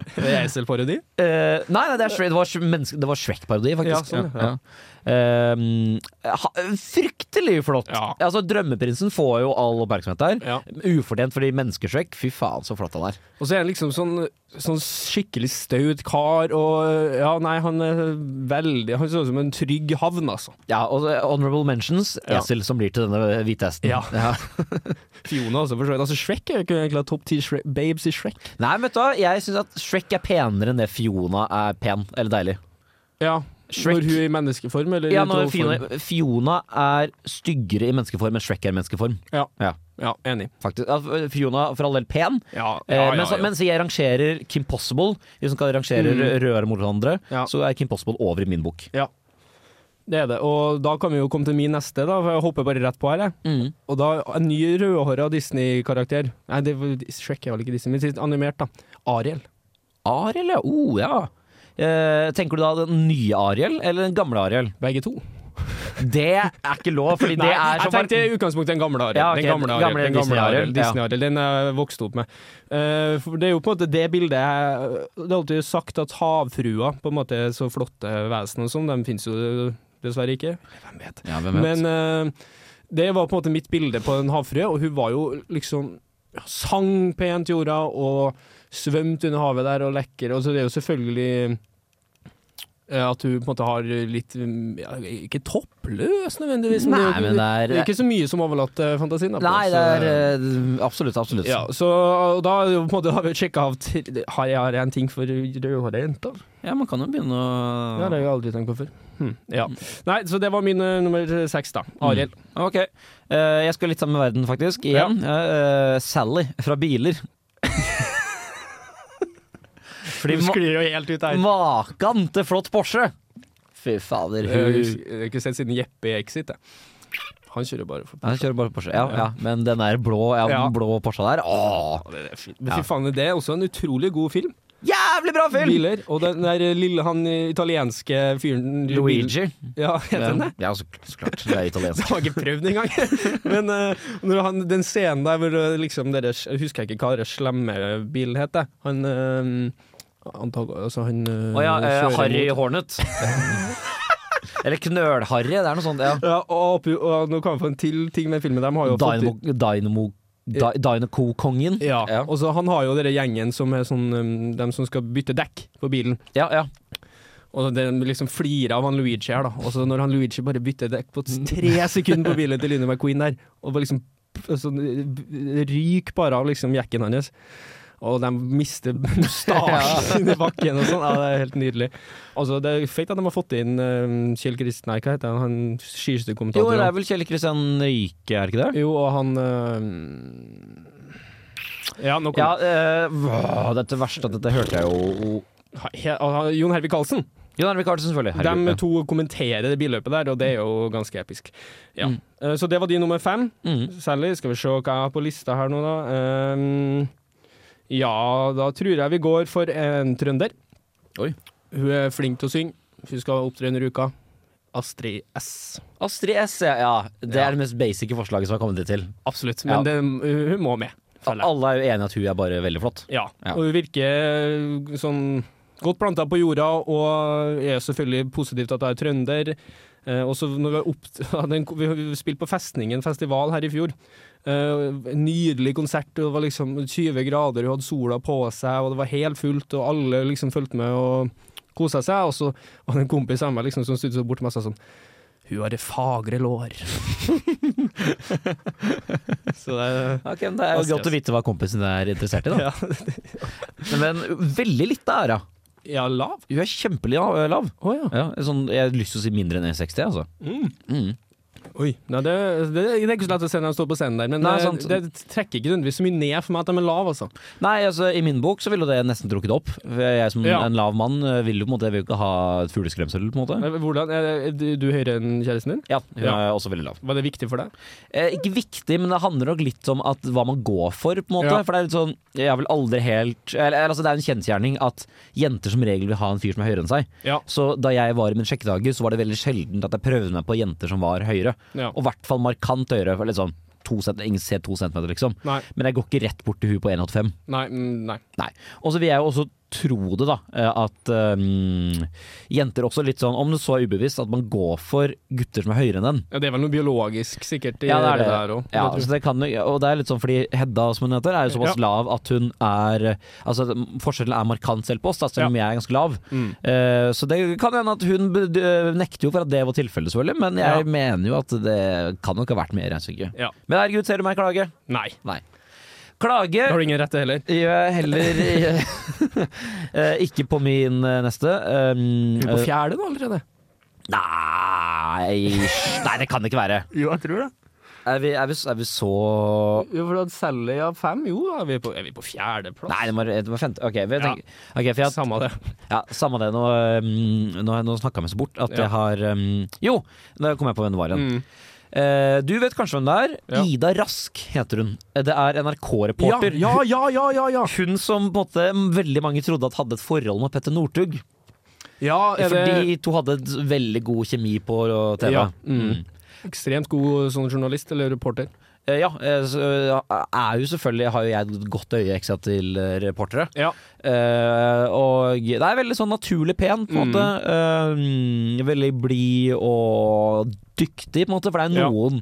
Speaker 2: Altså, det er Esel-parodi?
Speaker 3: Eh, nei, nei, det, er Shrek, det var, menneske, det var Shrek-parodi, faktisk.
Speaker 2: Ja, sånn, ja.
Speaker 3: Eh, ha, fryktelig flott!
Speaker 2: Ja.
Speaker 3: Altså, Drømmeprinsen får jo all oppmerksomhet der.
Speaker 2: Ja.
Speaker 3: Ufortjent fordi menneskesjekk. Fy faen, så flott han er.
Speaker 2: Og så er han liksom sånn, sånn skikkelig staut kar, og ja, nei, han er veldig Han ser ut som en trygg havn, altså.
Speaker 3: Ja, og så Honorable mentions.
Speaker 2: Ja.
Speaker 3: Esel som blir til denne hvite hesten.
Speaker 2: Ja. Fiona også, for så vidt. Altså, Shrek er jo ikke egentlig topp ti Shre- babes i Shrek.
Speaker 3: Nei, vet du hva, jeg syns at Shrek er penere enn det Fiona er pen eller deilig.
Speaker 2: Ja,
Speaker 3: Shrek.
Speaker 2: Når hun er i menneskeform, eller
Speaker 3: Ja,
Speaker 2: i
Speaker 3: når
Speaker 2: trollform.
Speaker 3: Fiona, Fiona er styggere i menneskeform enn Shrek er i menneskeform.
Speaker 2: Ja.
Speaker 3: Ja,
Speaker 2: ja, enig.
Speaker 3: faktisk. Ja, Fiona for all del pen,
Speaker 2: Ja,
Speaker 3: Eh, mens, mens jeg rangerer Kim Possible, hvis man kan rangere
Speaker 2: Mm.
Speaker 3: rødere mot hverandre,
Speaker 2: Ja.
Speaker 3: så er Kim Possible over i min bok.
Speaker 2: Ja. Det er det. Og da kan vi jo komme til min neste, da, for jeg hopper bare rett på her. Jeg.
Speaker 3: Mm.
Speaker 2: Og da en ny rødhåra Disney-karakter. Nei, det, var- Shrek er vel ikke Disney, men sist animert, da. Ariel.
Speaker 3: Ariel, ja. Oh, ja. Eh, tenker du da den nye Ariel eller den gamle Ariel?
Speaker 2: Begge to.
Speaker 3: Det er ikke lov, fordi det
Speaker 2: Nei,
Speaker 3: er
Speaker 2: jeg
Speaker 3: som
Speaker 2: tenkte i utgangspunktet den gamle Ariel.
Speaker 3: Ja, ok,
Speaker 2: Den gamle Ariel,
Speaker 3: gamle
Speaker 2: den gamle
Speaker 3: Disney-Ariel,
Speaker 2: Ariel, Disney-Ariel Den jeg vokste opp med. Eh, for det er jo på en måte det bildet jeg Det er alltid sagt at havfrua på en måte er så flotte vesen og sånn. De finnes jo dessverre ikke. Hvem vet?
Speaker 3: ja, hvem vet?
Speaker 2: Men eh, det var på en måte mitt bilde på en havfrue, og hun var jo liksom Sang pent jorda og svømte under havet der og lekker. Og så det er jo selvfølgelig eh, at hun på en måte har litt mm, ja, Ikke toppløs nødvendigvis, men,
Speaker 3: Nei,
Speaker 2: det, er jo,
Speaker 3: men det er-
Speaker 2: det er ikke så mye som overlater fantasien. da, på,
Speaker 3: Nei, det
Speaker 2: så-
Speaker 3: er eh, absolutt, absolutt.
Speaker 2: ja, så og da er det jo på en måte, har vi sjekka av tre- Har jeg- har jeg en ting for rødhåra jenter?
Speaker 3: Ja, man kan jo begynne å
Speaker 2: Ja, det har jeg aldri tenkt på før. Hm, ja. Nei, så det var min eh, nummer seks, da. Ariel.
Speaker 3: Ok. Eh, jeg skal litt sammen med verden, faktisk. Igjen. Eh, eh, Sally fra Biler. Fordi ma
Speaker 2: jo helt ut
Speaker 3: makan til flott Porsche! Fy fader, hun
Speaker 2: Jeg har ikke sett siden Jeppe i Exit. Jeg. Han kjører bare for
Speaker 3: ja, hun kjører bare Porsche. Ja, ja. Men den der blå, ja, den
Speaker 2: Ja.
Speaker 3: blå Porscha der Åh,
Speaker 2: Men fy faen, det er også en utrolig god film.
Speaker 3: Jævlig bra film!
Speaker 2: Biler. Og den der lille han eh, italienske fyren
Speaker 3: Luigi.
Speaker 2: Ja, heter han det?
Speaker 3: Ja, så, så klart. Det er
Speaker 2: Det
Speaker 3: italiensk.
Speaker 2: har jeg ikke prøvd engang. Men eh, når han, den scenen der hvor eh, liksom dere, Jeg husker jeg ikke hva den slemme bilen heter. Han eh, antag, altså han eh,
Speaker 3: Å ja, eh,
Speaker 2: kjører
Speaker 3: Harry
Speaker 2: mot-
Speaker 3: Hornet. Eller Knøl-Harry, det er noe sånt. Ja.
Speaker 2: Ja, og, oppi- og nå kan vi få en til ting med filmen. De har jo fått
Speaker 3: Dynamo, Dynamo, Dy- Dynaco-kongen.
Speaker 2: Ja.
Speaker 3: Ja.
Speaker 2: Og så han har jo dere gjengen som er sånn um, Dem som skal bytte dekk på bilen.
Speaker 3: Ja, ja.
Speaker 2: Og det liksom flirer av han Luigi her, da. Og så når han Luigi bare bytter dekk på
Speaker 3: Mm.
Speaker 2: tre sekunder på bilen til Line McQueen der, og bare liksom sånn, ryker bare av liksom jakken hans. Og de mister mustasjen i bakken og sånn. Ja, det er helt nydelig. Altså, det er fint at de har fått inn um, Kjell Kristen Nei, hva heter han? Han
Speaker 3: Jo, det
Speaker 2: skiskytterkommentatoren.
Speaker 3: er vel Kjell Kristian Ryke, er det ikke det?
Speaker 2: Jo, og han um, Ja, nå
Speaker 3: Ja,
Speaker 2: kom
Speaker 3: eh, hva, dette verste, dette hørte jeg jo
Speaker 2: He- Jon Hervik Karlsen.
Speaker 3: Jon Arve Karlsen, selvfølgelig. Herregud,
Speaker 2: De to kommenterer det billøpet der, og det er jo ganske episk. Ja.
Speaker 3: Mm.
Speaker 2: Eh, Så det var de nummer fem.
Speaker 3: ja. Mm.
Speaker 2: Sally, skal vi se hva jeg har på lista her nå, da. Ehm, ja, da tror jeg vi går for en trønder.
Speaker 3: Oi.
Speaker 2: Hun er flink til å synge. Hun skal opptre under uka. Astrid S.
Speaker 3: Astrid S, ja, ja. Det er det mest basice forslaget som har kommet dit til.
Speaker 2: Absolutt. Men
Speaker 3: Ja.
Speaker 2: det, hun må med. føler jeg.
Speaker 3: Alle er jo enige at hun er bare veldig flott.
Speaker 2: Ja.
Speaker 3: Ja.
Speaker 2: Og hun virker sånn godt planta på jorda, og er selvfølgelig positivt at jeg er trønder. Eh, og så når vi har opp, hadde en, vi spilte på Festningen festival her i fjor. Eh, en nydelig konsert, og det var liksom 20 grader, hun hadde sola på seg, og det var helt fullt, og alle liksom fulgte med og kosa seg. Og så var det en kompis av meg liksom, som studde bort til meg og sa sånn Hun har det fagre lår. så det
Speaker 3: Ok, men Det er jo
Speaker 2: Astrid
Speaker 3: godt å vite hva kompisen er interessert i, da.
Speaker 2: ja,
Speaker 3: Men veldig litt der, ja.
Speaker 2: ja, lav.
Speaker 3: Hun er eh, kjempelav.
Speaker 2: Å ja.
Speaker 3: Ja, sånn, jeg har lyst til å si mindre enn 1,60, altså. Mm.
Speaker 2: Oi. Nei, det, det, det er ikke så lett å se når de står på scenen der, men
Speaker 3: Nei,
Speaker 2: eh,
Speaker 3: sant.
Speaker 2: det, trekker ikke nødvendigvis så mye ned for meg at de er lave, altså.
Speaker 3: Nei, altså I min bok så ville det nesten trukket opp. For Jeg som
Speaker 2: Ja.
Speaker 3: en lav mann eh, vil jo på en måte Jeg vil jo ikke ha et fugleskremsel, på en måte.
Speaker 2: Men Hvordan, er, er du- du høyere enn kjæresten din?
Speaker 3: Ja, hun
Speaker 2: Ja.
Speaker 3: er også veldig lav.
Speaker 2: Var det viktig for deg?
Speaker 3: Eh, ikke viktig, men det handler nok litt om at hva man går for, på en måte.
Speaker 2: Ja.
Speaker 3: For det er litt sånn Jeg har vel aldri helt eller, eller, altså, Det er jo en kjensgjerning at jenter som regel vil ha en fyr som er høyere enn seg.
Speaker 2: Ja.
Speaker 3: Så da jeg var i mine sjekkedager, så var det veldig sjeldent at jeg prøvde meg på jenter som var høyere.
Speaker 2: Ja.
Speaker 3: Og i hvert fall markant høyere. For litt sånn to cent- ingen ser to centimeter, liksom.
Speaker 2: Nei.
Speaker 3: Men jeg går ikke rett bort til hun på 1,85.
Speaker 2: Nei. mm, nei.
Speaker 3: Nei. Og så vil jeg jo også tro det, da. eh, At ehm, jenter også litt sånn, om det så er ubevisst, at man går for gutter som er høyere enn den.
Speaker 2: Ja, det er vel noe biologisk sikkert i
Speaker 3: Ja, det er det.
Speaker 2: der òg.
Speaker 3: Eh, Ja, så det kan, jo- og det er litt sånn fordi Hedda, som hun heter, er jo såpass
Speaker 2: Ja.
Speaker 3: lav at hun er eh, Altså forskjellen er markant selv på oss, da, selv om jeg er ganske lav.
Speaker 2: Mm.
Speaker 3: Eh, så det kan hende at hun be- d- øh, nekter jo for at det var tilfellet, selvfølgelig. Men jeg
Speaker 2: Ja.
Speaker 3: mener jo at det kan nok ha vært med i regnestykket.
Speaker 2: Ja.
Speaker 3: Men herregud, ser du meg klage?
Speaker 2: Nei.
Speaker 3: Nei.
Speaker 2: Da
Speaker 3: Klage
Speaker 2: har du ingen rette heller.
Speaker 3: gjør jeg heller eh, ikke på min eh, neste. Um,
Speaker 2: Du er på fjerde nå allerede.
Speaker 3: nei Nei, det kan det ikke være.
Speaker 2: Jo, jeg tror det.
Speaker 3: Er vi, er vi, er vi så
Speaker 2: Jo, for at Sally av fem, jo, er vi på, er vi på fjerdeplass?
Speaker 3: Nei, det var, det var femte. Ok, vi tenker, ok, for jeg,
Speaker 2: Samme det.
Speaker 3: Ja, samme det. Nå, øhm, nå, nå snakka vi så bort at
Speaker 2: Ja.
Speaker 3: jeg har øhm, Jo, da kom jeg på hvem det var
Speaker 2: Mm.
Speaker 3: igjen. Eh, du vet kanskje hvem det er.
Speaker 2: Ja.
Speaker 3: Ida Rask heter hun. Eh, Det er NRK-reporter.
Speaker 2: Ja, ja, ja, ja, ja.
Speaker 3: Hun som på en måte veldig mange trodde at hadde et forhold med Petter Northug.
Speaker 2: ja er
Speaker 3: For
Speaker 2: det
Speaker 3: de to hadde et veldig god kjemi på øh, TV.
Speaker 2: Ja, mm. ekstremt god sånn journalist eller reporter?
Speaker 3: Eh, ja eh, så, øh, er jo selvfølgelig Har jo jeg et godt øye ekstra til øh, reportere.
Speaker 2: Ja.
Speaker 3: Eh, og det er veldig sånn naturlig pen, på en måte. Eh, veldig blid og dyktig, på en måte. For det er
Speaker 2: Ja.
Speaker 3: noen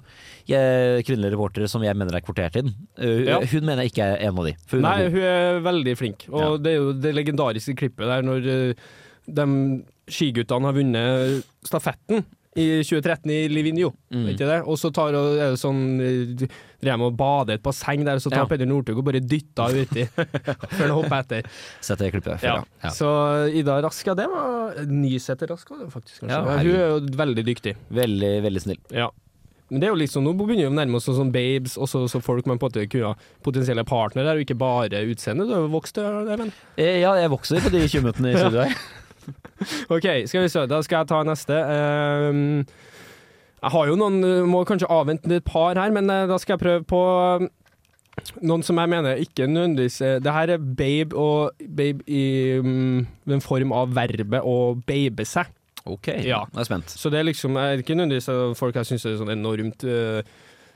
Speaker 3: eh, kvinnelige reportere som jeg mener er kvotert inn. Eh,
Speaker 2: Ja.
Speaker 3: Hun mener jeg ikke er en av de. For hun
Speaker 2: Nei,
Speaker 3: er god.
Speaker 2: hun er veldig flink. Og
Speaker 3: Ja.
Speaker 2: det er jo det legendariske klippet der når eh, de skiguttene har vunnet stafetten. I 2013 i Livigno,
Speaker 3: Mm.
Speaker 2: vet du det? Og så tar og, er det sånn eh, Drev med å bade i et basseng der, og så tar
Speaker 3: Ja.
Speaker 2: Peder Northug og bare dytter henne uti før han hopper etter.
Speaker 3: Sett det klippet. før,
Speaker 2: Ja.
Speaker 3: Ja.
Speaker 2: Så Ida Rask, ja, det var Nysæter Rask var det faktisk, kanskje.
Speaker 3: Ja,
Speaker 2: Ja, hun er jo veldig dyktig.
Speaker 3: Veldig, veldig snill.
Speaker 2: Ja. Men det er jo liksom, nå begynner vi å nærme oss sånn, sånn babes, og så, så folk man på en måte kunne ha potensielle partnere, og ikke bare utseende. Du har jo vokst, Even.
Speaker 3: Eh, ja, jeg vokser på de 20 minuttene i studio her.
Speaker 2: OK, skal vi se. Da skal jeg ta neste. Ehm, jeg har jo noen eh, Må kanskje avvente et par her, men eh, da skal jeg prøve på eh, noen som jeg mener ikke nødvendigvis eh, Det her er babe og babe i mm, den form av verbet å babe seg.
Speaker 3: Ok,
Speaker 2: Ja.
Speaker 3: nå er jeg spent.
Speaker 2: Så det er liksom er ikke nødvendigvis at folk jeg syns er sånn enormt eh,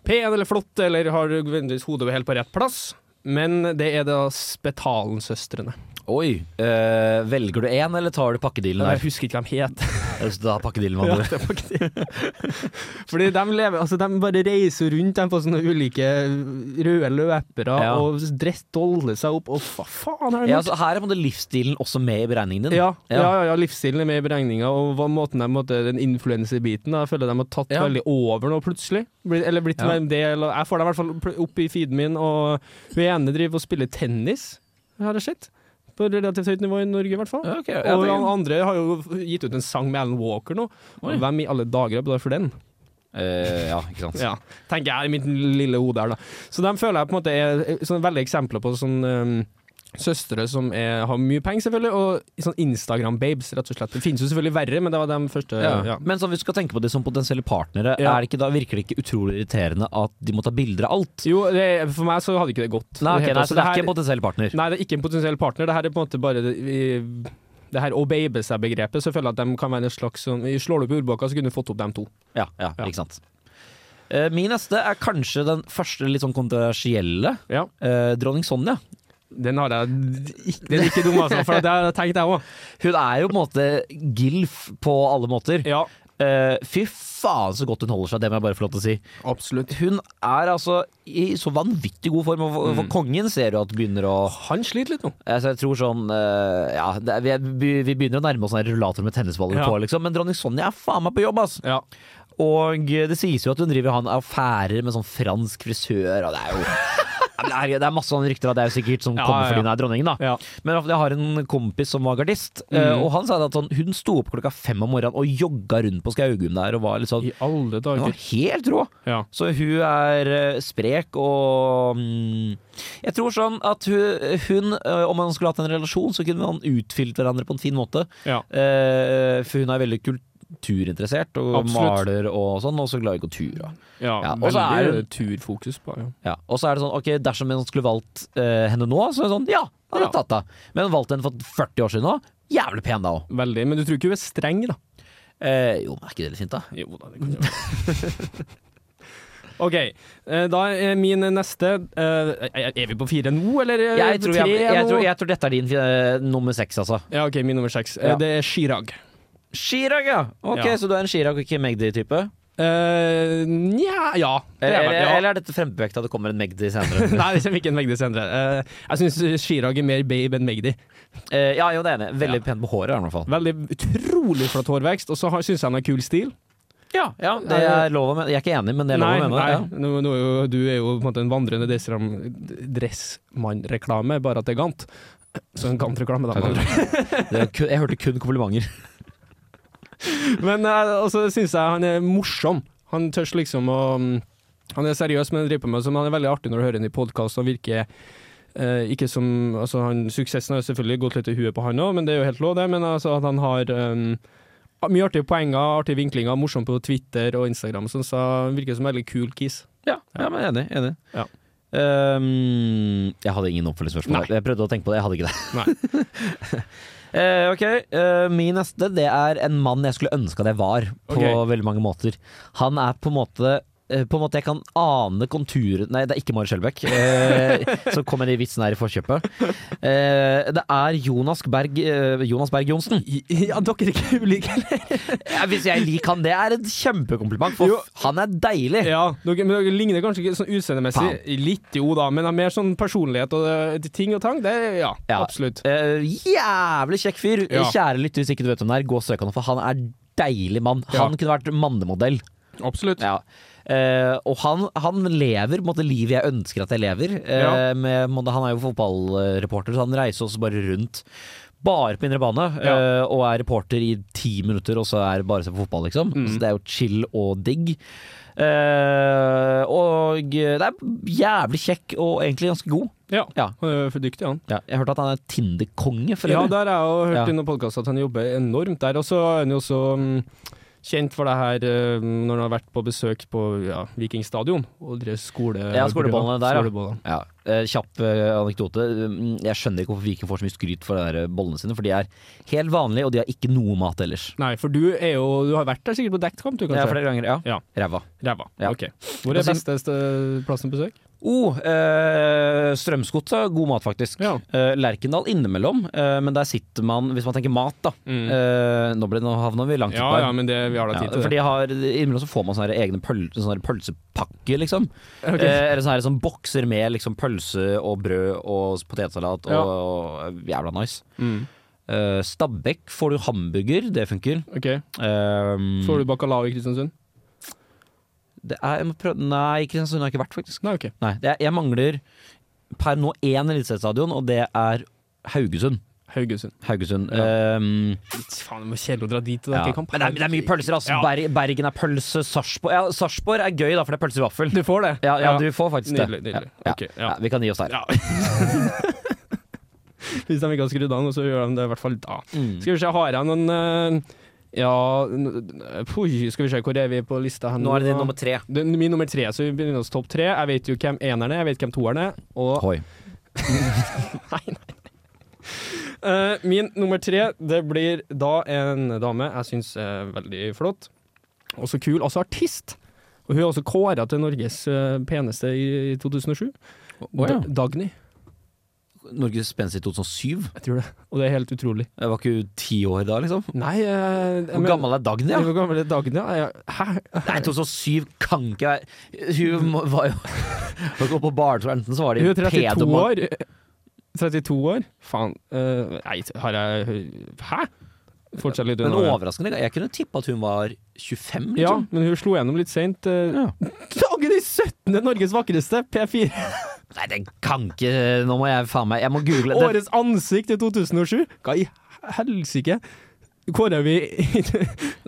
Speaker 2: pen eller flott, eller har nødvendigvis hodet helt på rett plass. Men det er da Spetalen-søstrene.
Speaker 3: Oi. eh, velger du én, eller tar du pakkedealen
Speaker 2: Jeg
Speaker 3: der?
Speaker 2: husker ikke hva de het.
Speaker 3: Så Da har pakkedealen med
Speaker 2: Ja,
Speaker 3: andre.
Speaker 2: det er faktisk- Fordi de lever Altså, de bare reiser rundt de på sånne ulike røde løpere
Speaker 3: Ja.
Speaker 2: og dress doller seg opp, og hva faen er det
Speaker 3: Ja, så her er på en måte livsstilen også med i beregningen din.
Speaker 2: Ja, ja,
Speaker 3: Ja.
Speaker 2: ja, ja, livsstilen er med i beregninga, og hva måten de, måtte, den influenserbiten da, Jeg føler de har tatt
Speaker 3: Ja.
Speaker 2: veldig over nå, plutselig. Blir- Eller blitt
Speaker 3: Ja.
Speaker 2: en del av- Jeg får dem i hvert fall pl- opp i feeden min, og hun ene driver og spiller tennis, har jeg sett. På relativt høyt nivå i Norge, i hvert fall.
Speaker 3: Ja, ok. Ja,
Speaker 2: og
Speaker 3: det-
Speaker 2: han andre har jo gitt ut en sang med Alan Walker nå.
Speaker 3: Oi.
Speaker 2: Hvem i alle dager er bedre for den?
Speaker 3: Eh, ja, ikke sant.
Speaker 2: Ja, tenker jeg i mitt lille hode her, da. Så dem føler jeg på en måte er sånne veldig eksempler på sånn ehm, Søstre som er, har mye penger, selvfølgelig, og sånn Instagram-babes, rett og slett. Det finnes jo selvfølgelig verre, men det var de første.
Speaker 3: Eh, Ja.
Speaker 2: Ja.
Speaker 3: Men så hvis du skal tenke på det som potensielle partnere,
Speaker 2: Ja.
Speaker 3: er det ikke, da virker det ikke utrolig irriterende at de må ta bilder av alt?
Speaker 2: Jo, det, for meg så hadde ikke det gått.
Speaker 3: Nei, ok,
Speaker 2: helt-
Speaker 3: nei
Speaker 2: altså,
Speaker 3: så det er
Speaker 2: her-
Speaker 3: ikke en potensiell partner.
Speaker 2: Nei, det er ikke en potensiell partner. Det her er på en måte bare det, vi, det her å babe seg-begrepet. Så jeg føler at de kan være en slags sånn vi Slår du opp i ordboka, så kunne du fått opp dem to.
Speaker 3: Ja, ja,
Speaker 2: Ja.
Speaker 3: ikke sant. Eh, Min neste er kanskje den første litt sånn kontroversielle.
Speaker 2: Ja,
Speaker 3: Eh, dronning Sonja.
Speaker 2: Den har jeg ikke, den er ikke dum, altså, for det har jeg tenkt, jeg òg.
Speaker 3: Hun er jo på en måte gilf på alle måter.
Speaker 2: Ja,
Speaker 3: Eh, fy faen så godt hun holder seg, det må jeg bare få lov til å si.
Speaker 2: absolutt.
Speaker 3: Hun er altså i så vanvittig god form, og for, for kongen ser du at begynner å
Speaker 2: Han sliter litt nå.
Speaker 3: Altså, jeg tror sånn eh, Ja, det, er- vi, er- vi- vi begynner å nærme oss en rullator med tennisballer
Speaker 2: Ja.
Speaker 3: på, liksom. Men dronning Sonja er faen meg på jobb, ass!
Speaker 2: Ja.
Speaker 3: Og eh, det sies jo at hun driver han affærer med sånn fransk frisør, og det er jo Ja, men herregud, Det er masse sånne rykter, og det er jo sikkert som
Speaker 2: Ja,
Speaker 3: kommer
Speaker 2: ja,
Speaker 3: fordi
Speaker 2: ja.
Speaker 3: hun er dronningen, da.
Speaker 2: Ja.
Speaker 3: Men i hvert fall, jeg har en kompis som var gardist, eh,
Speaker 2: Mhm.
Speaker 3: og han sa det at sånn, hun sto opp klokka fem om morgenen og jogga rundt på Skaugum der og var litt sånn
Speaker 2: I alle
Speaker 3: Hun var
Speaker 2: dager.
Speaker 3: helt rå!
Speaker 2: Ja.
Speaker 3: Så hun er eh, sprek og mm, Jeg tror sånn at hun, hun eh, Om man skulle hatt en relasjon, så kunne man utfylt hverandre på en fin måte.
Speaker 2: ja.
Speaker 3: Eh, For hun er veldig kulturinteressert og
Speaker 2: Absolutt.
Speaker 3: maler og sånn, og så glad i kultur. da. Ja, og
Speaker 2: og
Speaker 3: så
Speaker 2: så
Speaker 3: er
Speaker 2: er det turfokus på ja.
Speaker 3: Ja. Og så er det sånn, ok, dersom man skulle valgt eh, henne nå, så er det sånn, ja, hadde jeg
Speaker 2: Ja.
Speaker 3: tatt henne. Men valgt henne for 40 år siden nå, jævlig pen da òg.
Speaker 2: Veldig. Men du tror ikke hun er streng, da?
Speaker 3: Eh, jo, men er ikke det litt fint, da?
Speaker 2: Jo da, det kan være. OK. eh, Da er min neste eh, Er er vi på fire nå, eller er vi
Speaker 3: Jeg
Speaker 2: på
Speaker 3: tror,
Speaker 2: tre
Speaker 3: jeg, jeg,
Speaker 2: nå?
Speaker 3: tror, jeg tror dette er din eh, nummer seks, altså.
Speaker 2: Ja, OK, min nummer seks. Eh,
Speaker 3: Ja.
Speaker 2: Det er Chirag.
Speaker 3: Chirag, ja! Ok,
Speaker 2: Ja.
Speaker 3: Så du er en Chirag og ikke Magdi-type?
Speaker 2: Eh, Nja ja. Det
Speaker 3: Eller,
Speaker 2: er vel-
Speaker 3: eller,
Speaker 2: ja.
Speaker 3: eller er dette frempevekt at det kommer en Magdi senere?
Speaker 2: Nei, det kommer ikke en Magdi senere. Eh, jeg syns Chirag er mer babe enn Magdi.
Speaker 3: Eh, ja, jo, det er enig. Veldig pen på håret, i hvert fall.
Speaker 2: Veldig utrolig flott hårvekst, og så syns jeg han har kul stil.
Speaker 3: Ja, det er lov å mene. Jeg er ikke enig, men det er lov
Speaker 2: Nei,
Speaker 3: å mene.
Speaker 2: nei.
Speaker 3: Ja.
Speaker 2: Nå, nå, er jo- du er jo på en måte en vandrende dressram- dressmann-reklame, bare at det er gant. Så en gant-reklame, da.
Speaker 3: Det er kun, jeg hørte kun komplimenter.
Speaker 2: Men eh, altså, syns jeg han er morsom. Han tør liksom å mm, Han er seriøs, men driver på med som han er veldig artig når du hører ham i podkast og virker eh, ikke som altså han, Suksessen har jo selvfølgelig gått litt i huet på han òg, men det er jo helt lov, det. Men altså at han har em, mye artige poenger, artige vinklinger, morsom på Twitter og Instagram, og sånn, så han virker som en veldig kul kis.
Speaker 3: Ja, ja men enig. enig.
Speaker 2: Ja.
Speaker 3: Ehm, jeg hadde ingen oppfølgingsspørsmål. Jeg prøvde å tenke på det, jeg hadde ikke det. Eh, ok, eh, Min neste det er en mann jeg skulle ønske at jeg var, på
Speaker 2: Ok.
Speaker 3: veldig mange måter. Han er på en måte eh, på en måte Jeg kan ane konturen Nei, det er ikke Mari Skjelbæk. eh, så kom jeg i vitsen her i forkjøpet. Eh, det er Jonas Berg eh, Jonas Berg Johnsen.
Speaker 2: Ja, dere er ikke ulike, eller?
Speaker 3: Ja, Hvis jeg liker han, det er et kjempekompliment, for
Speaker 2: Jo.
Speaker 3: f- han er deilig.
Speaker 2: Ja, dere, men dere ligner kanskje ikke sånn utseendemessig litt, jo da, men det er mer sånn personlighet og det, ting og tang. Det er ja,
Speaker 3: Ja.
Speaker 2: absolutt.
Speaker 3: Eh, jævlig kjekk fyr.
Speaker 2: Ja.
Speaker 3: Kjære lytter, hvis ikke du vet hvem det er, gå og søk han, for han er deilig mann.
Speaker 2: Ja.
Speaker 3: Han kunne vært mannemodell.
Speaker 2: Absolutt.
Speaker 3: Ja. Eh, og han, han lever på en måte livet jeg ønsker at jeg lever. Eh,
Speaker 2: Ja.
Speaker 3: med, på en måte, han er jo fotballreporter, så han reiser også bare rundt. Bare på indre bane,
Speaker 2: Ja.
Speaker 3: eh, og er reporter i ti minutter, og så er det bare å se på fotball, liksom.
Speaker 2: Mm.
Speaker 3: Så det er jo chill og digg. Eh, og det er jævlig kjekk, og egentlig ganske god.
Speaker 2: Ja.
Speaker 3: Ja.
Speaker 2: Han er for dyktig, han.
Speaker 3: Ja, jeg hørte at han er Tinder-konge, for
Speaker 2: Ja,
Speaker 3: øvrig.
Speaker 2: der har jeg jo hørt
Speaker 3: Ja.
Speaker 2: i noen podkast at han jobber enormt der. Og så er han jo også mm, kjent for det her eh, når han har vært på besøk på ja, Viking stadion og drevet skole...
Speaker 3: Ja, skoleballene der, ja.
Speaker 2: Skoleballene.
Speaker 3: Ja, eh, Kjapp eh, anekdote. Mm, Jeg skjønner ikke hvorfor Viking får så mye skryt for de der eh, bollene sine, for de er helt vanlige, og de har ikke noe mat ellers.
Speaker 2: Nei, for du er jo Du har vært der sikkert på dekkkamp, du,
Speaker 3: Ja,
Speaker 2: kanskje?
Speaker 3: flere ganger, ja.
Speaker 2: Ja.
Speaker 3: Ræva.
Speaker 2: Ræva.
Speaker 3: Ja.
Speaker 2: OK. Hvor er beste ste- plassen å besøke?
Speaker 3: Oh, eh, Strømsgodset, god mat, faktisk.
Speaker 2: Ja.
Speaker 3: Eh, Lerkendal innimellom, eh, men der sitter man, hvis man tenker mat, da eh, Nå, ble, nå havna vi
Speaker 2: Mm.
Speaker 3: langt
Speaker 2: Ja
Speaker 3: utpå her.
Speaker 2: ja, men det, vi har da
Speaker 3: Ja,
Speaker 2: tid til
Speaker 3: for de har, Innimellom så får man sånne her egne pøl, sånne her pølsepakker, liksom.
Speaker 2: Ok.
Speaker 3: Eh, eller sånne her som bokser med liksom, pølse og brød og potetsalat. Og,
Speaker 2: Ja.
Speaker 3: og, jævla nice.
Speaker 2: Mm.
Speaker 3: Eh, Stabekk får du hamburger, det funker.
Speaker 2: OK.
Speaker 3: Um,
Speaker 2: Får du bacalao i Kristiansund?
Speaker 3: det er, jeg må prøve, nei, Kristiansund har jeg ikke vært, faktisk.
Speaker 2: Nei, OK.
Speaker 3: Nei, det er, jeg mangler per nå én Eliteseriestadion, og det er Haugesund.
Speaker 2: Haugesund.
Speaker 3: Haugesund. Um,
Speaker 2: Faen, det var kjedelig å dra dit. og Det
Speaker 3: ja.
Speaker 2: er ikke
Speaker 3: Men
Speaker 2: kamp.
Speaker 3: det er, det er mye pølser, altså.
Speaker 2: Ja.
Speaker 3: Ber- Bergen er pølse. Sarpsborg ja, Sarpsborg er gøy, da, for det er pølse i vaffel.
Speaker 2: Du får det?
Speaker 3: Ja, ja, du får faktisk
Speaker 2: Nydelig.
Speaker 3: det.
Speaker 2: nydelig.
Speaker 3: Ja.
Speaker 2: Ok, ja.
Speaker 3: Ja. vi kan gi oss der.
Speaker 2: Ja. Hvis de ikke har skrudd av noe, så gjør de det i hvert fall da.
Speaker 3: Mm.
Speaker 2: Skal vi se, har jeg noen eh, Ja n- pui, Skal vi se, hvor er vi på lista her
Speaker 3: Nå er det din nummer tre.
Speaker 2: Det er min nummer tre, så vi begynner oss topp tre. Jeg vet jo hvem eneren er, jeg vet hvem toeren er. Og
Speaker 3: Hoi.
Speaker 2: eh, min nummer tre, det blir da en dame jeg syns er veldig flott. Også kul, også artist. Og hun er også kåra til Norges eh, peneste i, i 2007.
Speaker 3: ja.
Speaker 2: Da- Dagny,
Speaker 3: Norges Spence i 2007?
Speaker 2: jeg tror det. Og det er helt utrolig.
Speaker 3: Jeg var ikke ti år da, liksom.
Speaker 2: Nei eh, jeg
Speaker 3: Hvor
Speaker 2: mener-
Speaker 3: gammel er Dagny? Ja?
Speaker 2: Hvor gammel er Dagny? Ja, ja. Hæ?
Speaker 3: Nei, 2007 kan ikke være Hun må- var jo Hun går på bartur, enten så var det
Speaker 2: Hun er
Speaker 3: pedo-
Speaker 2: 32 år. 32 år? Faen. eh, nei, har jeg Hæ? Fortsett litt
Speaker 3: Men
Speaker 2: unna. ja.
Speaker 3: overraskende, jeg kunne tippe at hun var 25,
Speaker 2: Ja,
Speaker 3: liksom.
Speaker 2: men hun slo gjennom litt seint. Uh,
Speaker 3: Ja.
Speaker 2: Dagny 17. Norges vakreste! P4.
Speaker 3: Nei, det kan ikke Nå må jeg faen meg Jeg må google det.
Speaker 2: Årets ansikt i 2007. Hva i helsike? Kåra vi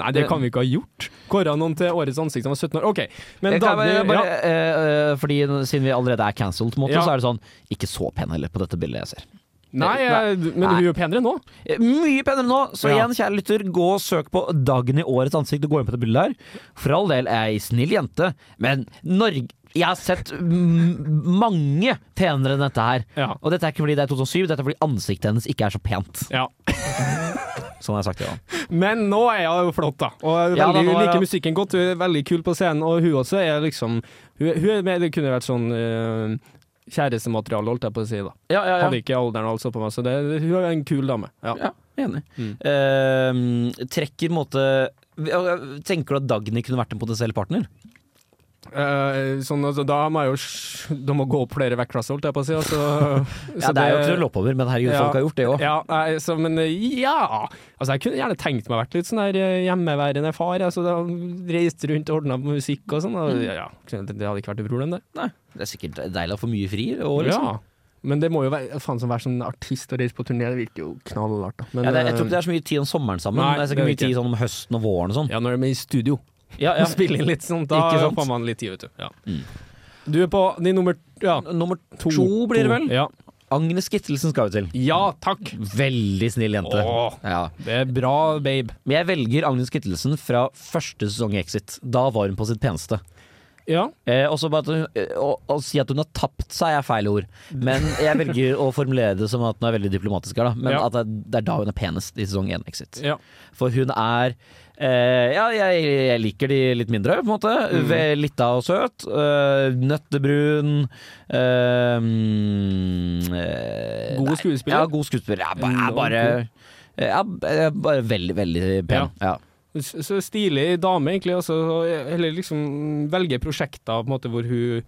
Speaker 2: Nei, det kan vi ikke ha gjort. Kåra noen til årets ansikt som var 17 år. OK. Men
Speaker 3: Jeg kan
Speaker 2: Dagny
Speaker 3: bare, bare,
Speaker 2: ja.
Speaker 3: eh, eh, fordi Siden vi allerede er cancelled, på en måte,
Speaker 2: Ja.
Speaker 3: så er det sånn Ikke så pen heller på dette bildet jeg ser.
Speaker 2: Nei, eh, men hun
Speaker 3: Nei.
Speaker 2: er jo penere nå.
Speaker 3: Eh, Mye penere nå, så
Speaker 2: Ja.
Speaker 3: igjen, kjære lytter, gå og søk på Dagny Årets ansikt og gå inn på det bildet der. For all del er ei snill jente, men Norge Jeg har sett mm, mange penere enn dette her.
Speaker 2: Ja.
Speaker 3: Og dette er ikke fordi det er 2007, dette er fordi ansiktet hennes ikke er så pent.
Speaker 2: ja.
Speaker 3: Sånn har jeg sagt det, ja.
Speaker 2: Men nå er hun jo flott, da. Og veldig,
Speaker 3: Ja, da, nå er
Speaker 2: liker
Speaker 3: hun-
Speaker 2: musikken godt, hun er veldig kul på scenen. Og hun også er liksom Hun, hun er med, det kunne vært sånn eh, kjærestemateriale, holdt jeg på å si. da
Speaker 3: Ja, ja,
Speaker 2: Hadde ikke alderen og alt så på meg, så det, hun er en kul dame. Ja.
Speaker 3: Ja, enig. Eh, trekker på en måte Tenker du at Dagny kunne vært en potensiell partner?
Speaker 2: Eh, sånn, altså, da må jeg jo sj- Da må gå opp flere vektklasser, holdt jeg på å si. Altså,
Speaker 3: Ja, det er jo ikke noe loppover, men herregud,
Speaker 2: Ja.
Speaker 3: folk har gjort det òg.
Speaker 2: Ja, nei, så, men eh, ja Altså, jeg kunne gjerne tenkt meg å vært litt sånn der eh, hjemmeværende far. Altså, da reiste rundt og ordna musikk og sånn.
Speaker 3: Mm.
Speaker 2: Og, ja, det det hadde ikke vært et problem, det.
Speaker 3: Det er sikkert deilig å få mye fri. Og liksom. ja.
Speaker 2: Ja. Men det må jo være faen som å være sånn artist og reise på turné, det virker jo knallhardt. da. Men, eh,
Speaker 3: det, jeg tror ikke det er så mye tid om sommeren sammen.
Speaker 2: Nei,
Speaker 3: det er
Speaker 2: det er
Speaker 3: sikkert mye
Speaker 2: det ikke.
Speaker 3: tid sånn om høsten og våren og sånn.
Speaker 2: ja, når de er i studio.
Speaker 3: Ja, ja.
Speaker 2: Spille inn litt sånt. Da
Speaker 3: Ikke sant?
Speaker 2: får man litt tid, vet du. Ja. Du er på din nummer ja,
Speaker 3: Nummer to, blir det vel?
Speaker 2: Ja.
Speaker 3: Agnes Kittelsen skal vi til.
Speaker 2: ja, takk.
Speaker 3: Veldig snill jente.
Speaker 2: Åh.
Speaker 3: Ja.
Speaker 2: Det er bra, babe.
Speaker 3: Men jeg velger Agnes Kittelsen fra første sesong i Exit. Da var hun på sitt peneste.
Speaker 2: Ja.
Speaker 3: Eh, også bare at hun, eh, å, å si at hun har tapt seg er feil ord, men jeg velger å formulere det som at hun er veldig diplomatisk her, da. Men
Speaker 2: Ja.
Speaker 3: at det er- det er da hun er penest i sesong 1 Exit.
Speaker 2: ja.
Speaker 3: For hun er eh, Ja, jeg, jeg liker de litt mindre, på en måte.
Speaker 2: Mm.
Speaker 3: Ve- Lita og søt. eh, nøttebrun. eh, mm, eh,
Speaker 2: God
Speaker 3: nei,
Speaker 2: skuespiller.
Speaker 3: Ja, god skuespiller. Ja, bare, er
Speaker 2: Enormt
Speaker 3: bare, eh, ja, er bare veldig, veldig pen. Ja.
Speaker 2: Så så stilig dame, egentlig. Altså, og- eller liksom velge prosjekter på en måte hvor hun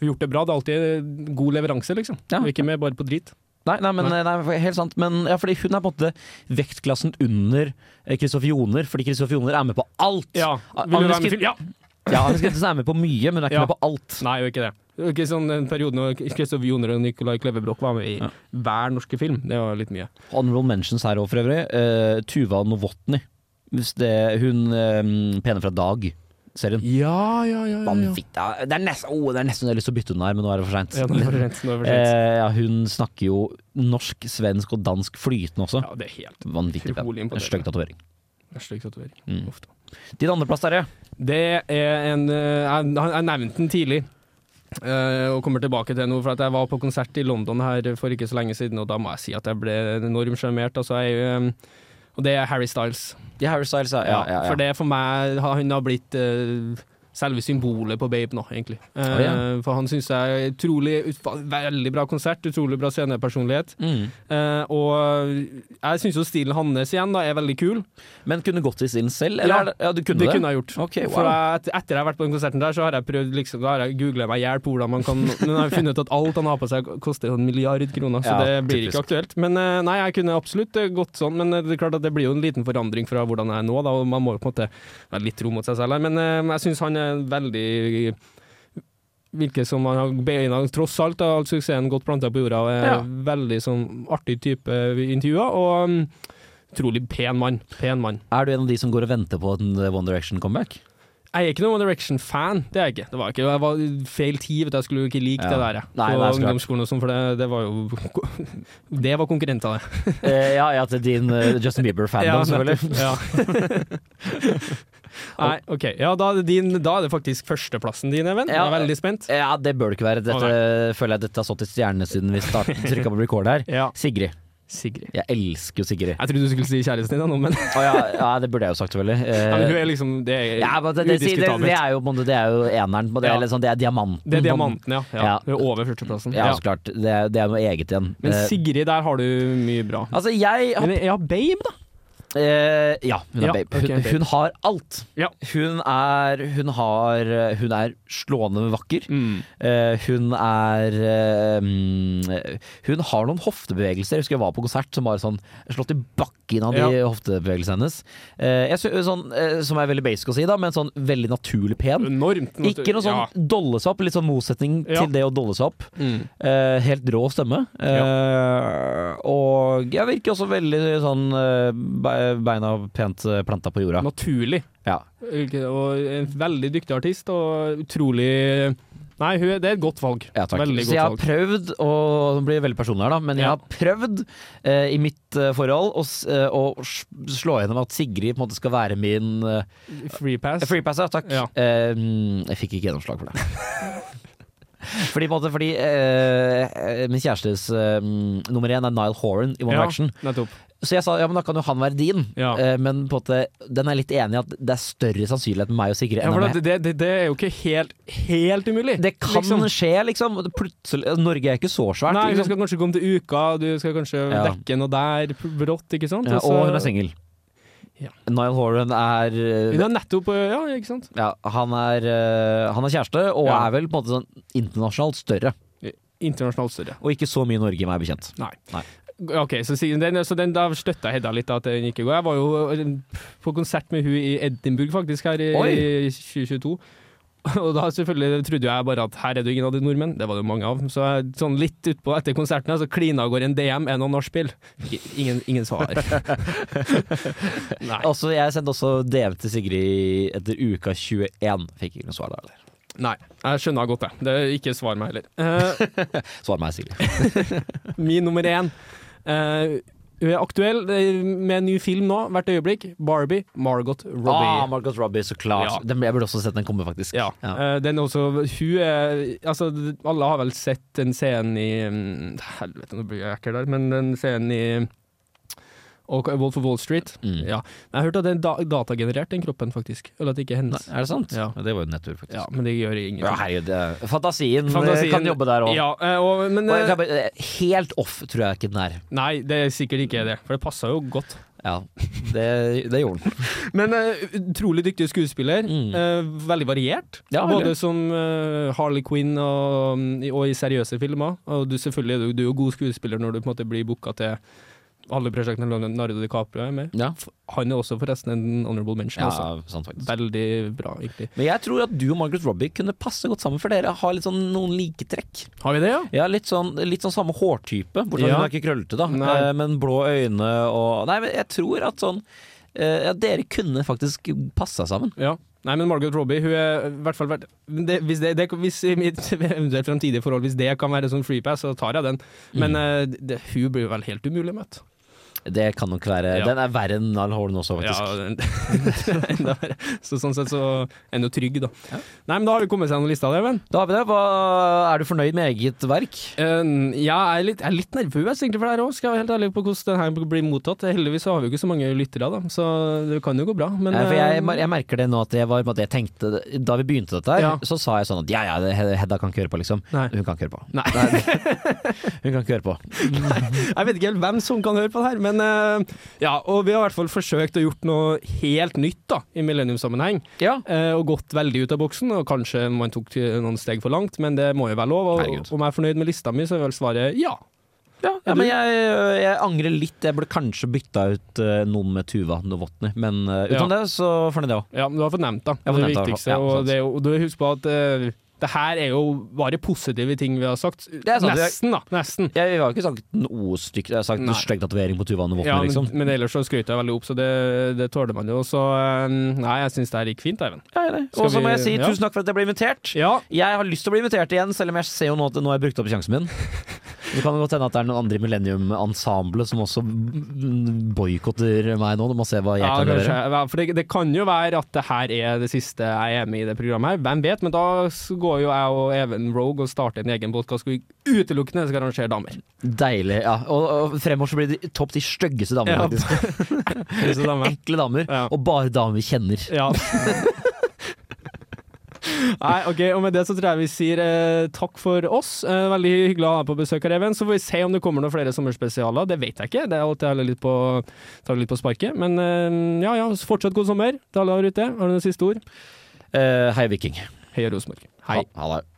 Speaker 2: hun gjort det bra. Det er alltid god leveranse, liksom.
Speaker 3: Ja.
Speaker 2: Og ikke med bare på drit.
Speaker 3: Nei, nei, men, eh, nei. helt sant. Men ja, fordi hun er på en måte vektklassen under eh, Kristoffer Joner, fordi Kristoffer Joner er med på alt.
Speaker 2: Ja.
Speaker 3: A-
Speaker 2: Vil du
Speaker 3: Agnes
Speaker 2: være med i
Speaker 3: Kitt-
Speaker 2: film? Ja!
Speaker 3: Ja, Agnes Kittelsen er med på mye, men hun er ikke
Speaker 2: Ja.
Speaker 3: med på alt.
Speaker 2: Nei, jo ikke det. Det var Ikke sånn den perioden når Kristoffer Joner og Nicolai Klevebrok var med i hver norske film. Det var litt mye.
Speaker 3: Honorable mentions her òg, for øvrig. Eh, Tuva Novotny. Hvis det- Hun eh, pene fra Dag-serien.
Speaker 2: Ja, ja, ja.
Speaker 3: Vanvittig. ja. Det er nesten oh, det er nesten jeg har lyst til å bytte hun her, men nå er det for seint.
Speaker 2: Ja, nå er det for sent, nå er det for sent.
Speaker 3: eh, ja, hun snakker jo norsk, svensk og dansk flytende også.
Speaker 2: Ja, det er helt
Speaker 3: Vanvittig pen.
Speaker 2: Utrolig
Speaker 3: En
Speaker 2: imponerende.
Speaker 3: Stygg tatovering.
Speaker 2: slik tatovering.
Speaker 3: Mm.
Speaker 2: Uff da.
Speaker 3: Din andreplass, Terje?
Speaker 2: Det er en eh, Jeg, jeg nevnte den tidlig. eh, og kommer tilbake til noe, for at jeg var på konsert i London her for ikke så lenge siden, og da må jeg si at jeg ble enormt sjarmert. Altså, jeg er jo, eh, og det er Harry Styles.
Speaker 3: Ja, Harry Styles, ja. ja, ja, ja.
Speaker 2: For det for meg har- Han har blitt eh, selve symbolet på Babe nå, egentlig. Eh,
Speaker 3: Å,
Speaker 2: For han syns jeg er utrolig ut- Veldig bra konsert, utrolig bra scenepersonlighet.
Speaker 3: Mm.
Speaker 2: Eh, og jeg syns jo stilen hans igjen da er veldig kul.
Speaker 3: Men kunne gått i stilen selv?
Speaker 2: Ja,
Speaker 3: Eller? er det- ja du kunne det?
Speaker 2: det kunne jeg gjort.
Speaker 3: Ok, wow.
Speaker 2: For jeg, et- etter jeg har vært på den konserten der, så har jeg prøvd liksom, da har jeg googlet meg i hjel på hvordan man kan Men jeg har funnet ut at alt han har på seg koster en milliard kroner, så
Speaker 3: Ja,
Speaker 2: det blir
Speaker 3: typisk.
Speaker 2: ikke aktuelt. Men eh, nei, jeg kunne absolutt eh, gått sånn, men eh, det er klart at det blir jo en liten forandring fra hvordan jeg er nå, da, og man må jo på en måte være litt tro mot seg selv her. Men eh, jeg syns han er veldig Virker som han har beina Tross alt har all suksessen godt planta på jorda, og er
Speaker 3: Ja.
Speaker 2: veldig sånn artig type i intervjuer, og mm, utrolig pen mann. Pen mann.
Speaker 3: Er du en av de som går og venter på en eh, One Direction-comeback?
Speaker 2: Jeg er ikke noen One Direction-fan. Det er jeg ikke. Det var ikke. Jeg var feil tid. Vet du. Jeg skulle jo ikke like
Speaker 3: Ja.
Speaker 2: det der jeg. på
Speaker 3: Nei, det er så klart.
Speaker 2: ungdomsskolen og sånn, for det, det var jo Det var konkurrenter, det.
Speaker 3: Eh, ja, ja, til din eh, Justin Bieber-fandom, selvfølgelig.
Speaker 2: nettopp. Ja. Nei, OK. Ja, da er, det din, da er det faktisk førsteplassen din, Even. Jeg
Speaker 3: Ja.
Speaker 2: er veldig spent.
Speaker 3: Ja, det bør det ikke være. Dette
Speaker 2: Å,
Speaker 3: føler jeg dette har stått i stjernene siden vi trykka på record her.
Speaker 2: Ja.
Speaker 3: Sigrid.
Speaker 2: Sigrid.
Speaker 3: Jeg elsker jo Sigrid.
Speaker 2: Jeg trodde du skulle si kjæresten din, da, nå, men
Speaker 3: Å, ja, ja, det burde jeg jo sagt, selvfølgelig. Eh,
Speaker 2: ja, men hun er liksom Det er
Speaker 3: ja, men det, det, det, det,
Speaker 2: udiskutabelt.
Speaker 3: er jo på en måte- det er jo eneren. på Det,
Speaker 2: Ja.
Speaker 3: eller sånn, det er diamanten.
Speaker 2: Det er
Speaker 3: på-
Speaker 2: diamanten, ja. ja.
Speaker 3: Ja.
Speaker 2: Hun er over førsteplassen.
Speaker 3: Ja,
Speaker 2: Ja.
Speaker 3: så klart. Det, er- det er noe eget igjen.
Speaker 2: Men
Speaker 3: Eh,
Speaker 2: Sigrid, der har du mye bra.
Speaker 3: altså, jeg har
Speaker 2: Men ja, Babe, da.
Speaker 3: Eh, ja, hun er
Speaker 2: Ja,
Speaker 3: babe.
Speaker 2: ok,
Speaker 3: Hun,
Speaker 2: babe.
Speaker 3: hun har alt.
Speaker 2: Ja.
Speaker 3: Hun, er, hun, har, hun er slående vakker.
Speaker 2: Mm.
Speaker 3: Eh, hun er eh, mm, Hun har noen hoftebevegelser. Jeg husker jeg var på konsert som bare sånn slått i bakken av de
Speaker 2: Ja.
Speaker 3: hoftebevegelsene hennes. Eh, jeg sy sånn, eh, som er veldig basic å si, da, men sånn veldig naturlig pen.
Speaker 2: Enormt.
Speaker 3: Ikke noe sånn
Speaker 2: Ja.
Speaker 3: dolle seg opp, litt sånn motsetning
Speaker 2: Ja.
Speaker 3: til det å dolle seg opp.
Speaker 2: Mm.
Speaker 3: Eh, helt rå stemme. Eh, Og jeg virker også veldig sånn eh, be- beina pent eh, planta på jorda.
Speaker 2: Naturlig.
Speaker 3: Ja.
Speaker 2: Ikke- Og en veldig dyktig artist, og utrolig Nei, hun, er- det er et godt valg.
Speaker 3: Ja, takk.
Speaker 2: Veldig
Speaker 3: Så jeg har
Speaker 2: godt valg.
Speaker 3: prøvd, og det blir veldig personlig her, da, men jeg
Speaker 2: Ja.
Speaker 3: har prøvd eh, i mitt eh, forhold å, s- eh, å s- slå gjennom at Sigrid på en måte skal være min eh,
Speaker 2: Free pass.
Speaker 3: freepass. Ja, takk.
Speaker 2: Ja.
Speaker 3: Eh, mm, jeg fikk ikke gjennomslag for det. Fordi, på en måte, fordi eh, eh, min kjærestes eh, mm, nummer én er Nile Horan i One
Speaker 2: ja,
Speaker 3: Action.
Speaker 2: nettopp.
Speaker 3: Så jeg sa ja, men da kan jo han være din,
Speaker 2: Ja.
Speaker 3: Eh, men på en måte, den er litt enig i at det er større sannsynlighet med meg og Sigrid
Speaker 2: Ja,
Speaker 3: enn
Speaker 2: for
Speaker 3: med
Speaker 2: det, det, det, det er jo ikke helt, helt umulig.
Speaker 3: Det kan
Speaker 2: liksom.
Speaker 3: skje, liksom. Plutselig, Norge er ikke så svært.
Speaker 2: Nei, du
Speaker 3: liksom.
Speaker 2: skal kanskje komme til uka, du skal kanskje
Speaker 3: Ja.
Speaker 2: dekke noe der p- brått, ikke sant? Og
Speaker 3: ja,
Speaker 2: så-
Speaker 3: og hun er singel.
Speaker 2: Ja.
Speaker 3: Niall Horan er eh,
Speaker 2: Hun er nettopp Ja, ikke sant?
Speaker 3: ja, han, er eh, han er kjæreste, og
Speaker 2: Ja.
Speaker 3: er vel på en måte sånn internasjonalt større.
Speaker 2: Internasjonalt større.
Speaker 3: Og ikke så mye Norge, meg bekjent.
Speaker 2: Nei.
Speaker 3: Nei.
Speaker 2: Ok, så, sier- den, så den, Da støtta Hedda litt at den ikke går. Jeg øh, var jo på konsert med hun i Edinburgh faktisk her i,
Speaker 3: Oi.
Speaker 2: i 2022. Og da selvfølgelig trodde jo jeg bare at her er det jo ingen av de nordmenn, det var det jo mange av. Så jeg, sånn litt utpå etter konserten her, så klina går en DM, en av nachspiel. Ikke- Ingen, ingen svar. Nei.
Speaker 3: Altså, jeg sendte også DM til Sigrid etter uka 21. Fikk ikke noe svar da. Eller?
Speaker 2: Nei. Jeg skjønner godt det. det er ikke svar meg heller. Eh,
Speaker 3: Svar meg, Sigrid.
Speaker 2: min nummer én. Eh, hun er aktuell eh, med en ny film nå, hvert øyeblikk. Barbie, Margot
Speaker 3: Ah,
Speaker 2: Robbie.
Speaker 3: Margot Robbie, så klart.
Speaker 2: Ja.
Speaker 3: Den, jeg burde også sett den komme, faktisk.
Speaker 2: Ja. eh, den er også Hun er Altså, alle har vel sett den scenen i mm, Helvete, nå blir jeg ekkel der, men den scenen i og Wolf of Wall Street.
Speaker 3: Mm.
Speaker 2: Ja. Jeg hørte at den er da datagenerert, den kroppen, faktisk. Eller at det ikke er
Speaker 3: Nei,
Speaker 2: hennes.
Speaker 3: er det sant?
Speaker 2: Ja.
Speaker 3: Det var jo nettur, faktisk.
Speaker 2: Ja, men det gjør ingenting.
Speaker 3: Ja, herregud, det- fantasien, eh,
Speaker 2: Fantasien-
Speaker 3: kan jobbe der òg.
Speaker 2: Ja, eh, og, men eh,
Speaker 3: Helt off tror jeg ikke den er.
Speaker 2: Nei, det er sikkert ikke det, for det passa jo godt.
Speaker 3: Ja, det, det gjorde den.
Speaker 2: Men eh, utrolig dyktig skuespiller.
Speaker 3: Mm.
Speaker 2: eh, veldig variert.
Speaker 3: Ja,
Speaker 2: Både
Speaker 3: veldig.
Speaker 2: som eh, Harley Quinn og, og i seriøse filmer. Og du, selvfølgelig er du, du er jo god skuespiller når du på en måte blir booka til alle prosjektene Leonardo DiCaprio er med.
Speaker 3: Ja,
Speaker 2: Han er også forresten en honorable mention. Også.
Speaker 3: sant faktisk.
Speaker 2: Veldig bra, egentlig.
Speaker 3: Men jeg tror at du og Margaret Robbie kunne passe godt sammen, for dere har litt sånn noen liketrekk.
Speaker 2: Har vi det, ja?
Speaker 3: Ja, litt sånn, litt sånn samme hårtype, bortsett fra
Speaker 2: Ja.
Speaker 3: hun er ikke krøllete, da.
Speaker 2: Nei.
Speaker 3: Eh, Men blå øyne og Nei, men jeg tror at sånn eh, ja, Dere kunne faktisk passa sammen.
Speaker 2: Ja. Nei, men Margot Robbie, hun er i hvert fall vært men det, Hvis det, det hvis i mitt eventuelt fremtidige forhold Hvis det kan være sånn freepass, så tar jeg den. Men eh, det, hun blir vel helt umulig møtt.
Speaker 3: Det kan nok være
Speaker 2: Ja.
Speaker 3: Den er verre enn Al Horn også, faktisk.
Speaker 2: Ja, den- enda verre. Så sånn sett så er en jo trygg, da. Nei, men da har vi kommet seg gjennom lista, Even.
Speaker 3: Da har vi det. Hva, er du fornøyd med eget verk?
Speaker 2: Uh, ja, jeg er litt, jeg er litt nervøs egentlig for det her òg, skal jeg være helt ærlig på hvordan den her blir mottatt. Heldigvis så har vi jo ikke så mange lyttere, da, så det kan jo gå bra. Men
Speaker 3: Nei, for jeg,
Speaker 2: eh,
Speaker 3: mer- jeg merker det nå at jeg var på en måte- jeg tenkte Da vi begynte dette her,
Speaker 2: Ja.
Speaker 3: så sa jeg sånn at ja ja, det- Hedda kan ikke høre på, liksom.
Speaker 2: Nei.
Speaker 3: Hun kan ikke høre på.
Speaker 2: Nei.
Speaker 3: Hun kan ikke høre på.
Speaker 2: Jeg vet ikke helt hvem som kan høre på det her, men eh, ja, og vi har i hvert fall forsøkt å gjort noe helt nytt da, i millenniumssammenheng.
Speaker 3: Ja.
Speaker 2: eh, og gått veldig ut av boksen, og kanskje man tok til noen steg for langt, men det må jo være lov. Og,
Speaker 3: Herregud.
Speaker 2: om jeg er fornøyd med lista mi, så er vel svaret ja.
Speaker 3: Ja,
Speaker 2: er
Speaker 3: men
Speaker 2: du-
Speaker 3: jeg, øh, jeg angrer litt. Jeg burde kanskje bytta ut eh, noen med Tuva Novotny, men eh,
Speaker 2: Ja.
Speaker 3: utenom det, så fornøyd jeg òg.
Speaker 2: Ja, men du har fått nevnt da.
Speaker 3: Jeg har fått
Speaker 2: det
Speaker 3: nevnt det,
Speaker 2: viktigste.
Speaker 3: ja, sant.
Speaker 2: og det, er jo- og du husk på at eh, det her er jo bare positive ting vi har sagt.
Speaker 3: er sant, det er-
Speaker 2: Nesten, da. Nesten.
Speaker 3: Jeg har ikke sagt noe stygt. Jeg har sagt
Speaker 2: Nei.
Speaker 3: en stygg tatovering på Tuva Novotny,
Speaker 2: Ja, men,
Speaker 3: liksom.
Speaker 2: men ellers så skrøt jeg veldig opp, så det, det tåler man jo. Så eh, nei, jeg syns det her gikk fint, Eivind.
Speaker 3: Ja, ja, ja.
Speaker 2: Skal
Speaker 3: Og så må
Speaker 2: vi-
Speaker 3: jeg si
Speaker 2: ja.
Speaker 3: tusen takk for at jeg ble invitert.
Speaker 2: Ja,
Speaker 3: Jeg har lyst til å bli invitert igjen, selv om jeg ser jo nå at nå har jeg brukt opp sjansen min. Det kan jo godt hende at det er noen andre i Millennium-ensemblet som også boikotter meg nå. Du må se hva jeg
Speaker 2: ja
Speaker 3: kan
Speaker 2: kanskje.
Speaker 3: levere.
Speaker 2: Ja, For det, det kan jo være at det her er det siste jeg er med i det programmet her. Hvem vet? Men da s- går jo jeg og Even Rogue og starter en egen podkast hvor vi utelukkende skal arrangere damer.
Speaker 3: Deilig. ja Og, og fremover så blir det topp de styggeste damene,
Speaker 2: Ja.
Speaker 3: faktisk.
Speaker 2: Disse damene.
Speaker 3: Ekle damer.
Speaker 2: Ja.
Speaker 3: Og bare damer vi kjenner.
Speaker 2: Ja. Nei, ok, og Med det så tror jeg vi sier eh, takk for oss. Eh, veldig hyggelig å ha deg på besøk her, Even. Så får vi se om det kommer noen flere sommerspesialer. Det vet jeg ikke. Det er alltid jeg litt på, tar det litt på sparket. Men eh, ja, ja, så fortsatt god sommer til alle der ute. Har du noen siste ord?
Speaker 3: Eh, hei, Viking.
Speaker 2: Heia Rosenborg. Hei.
Speaker 3: Ha, ha det.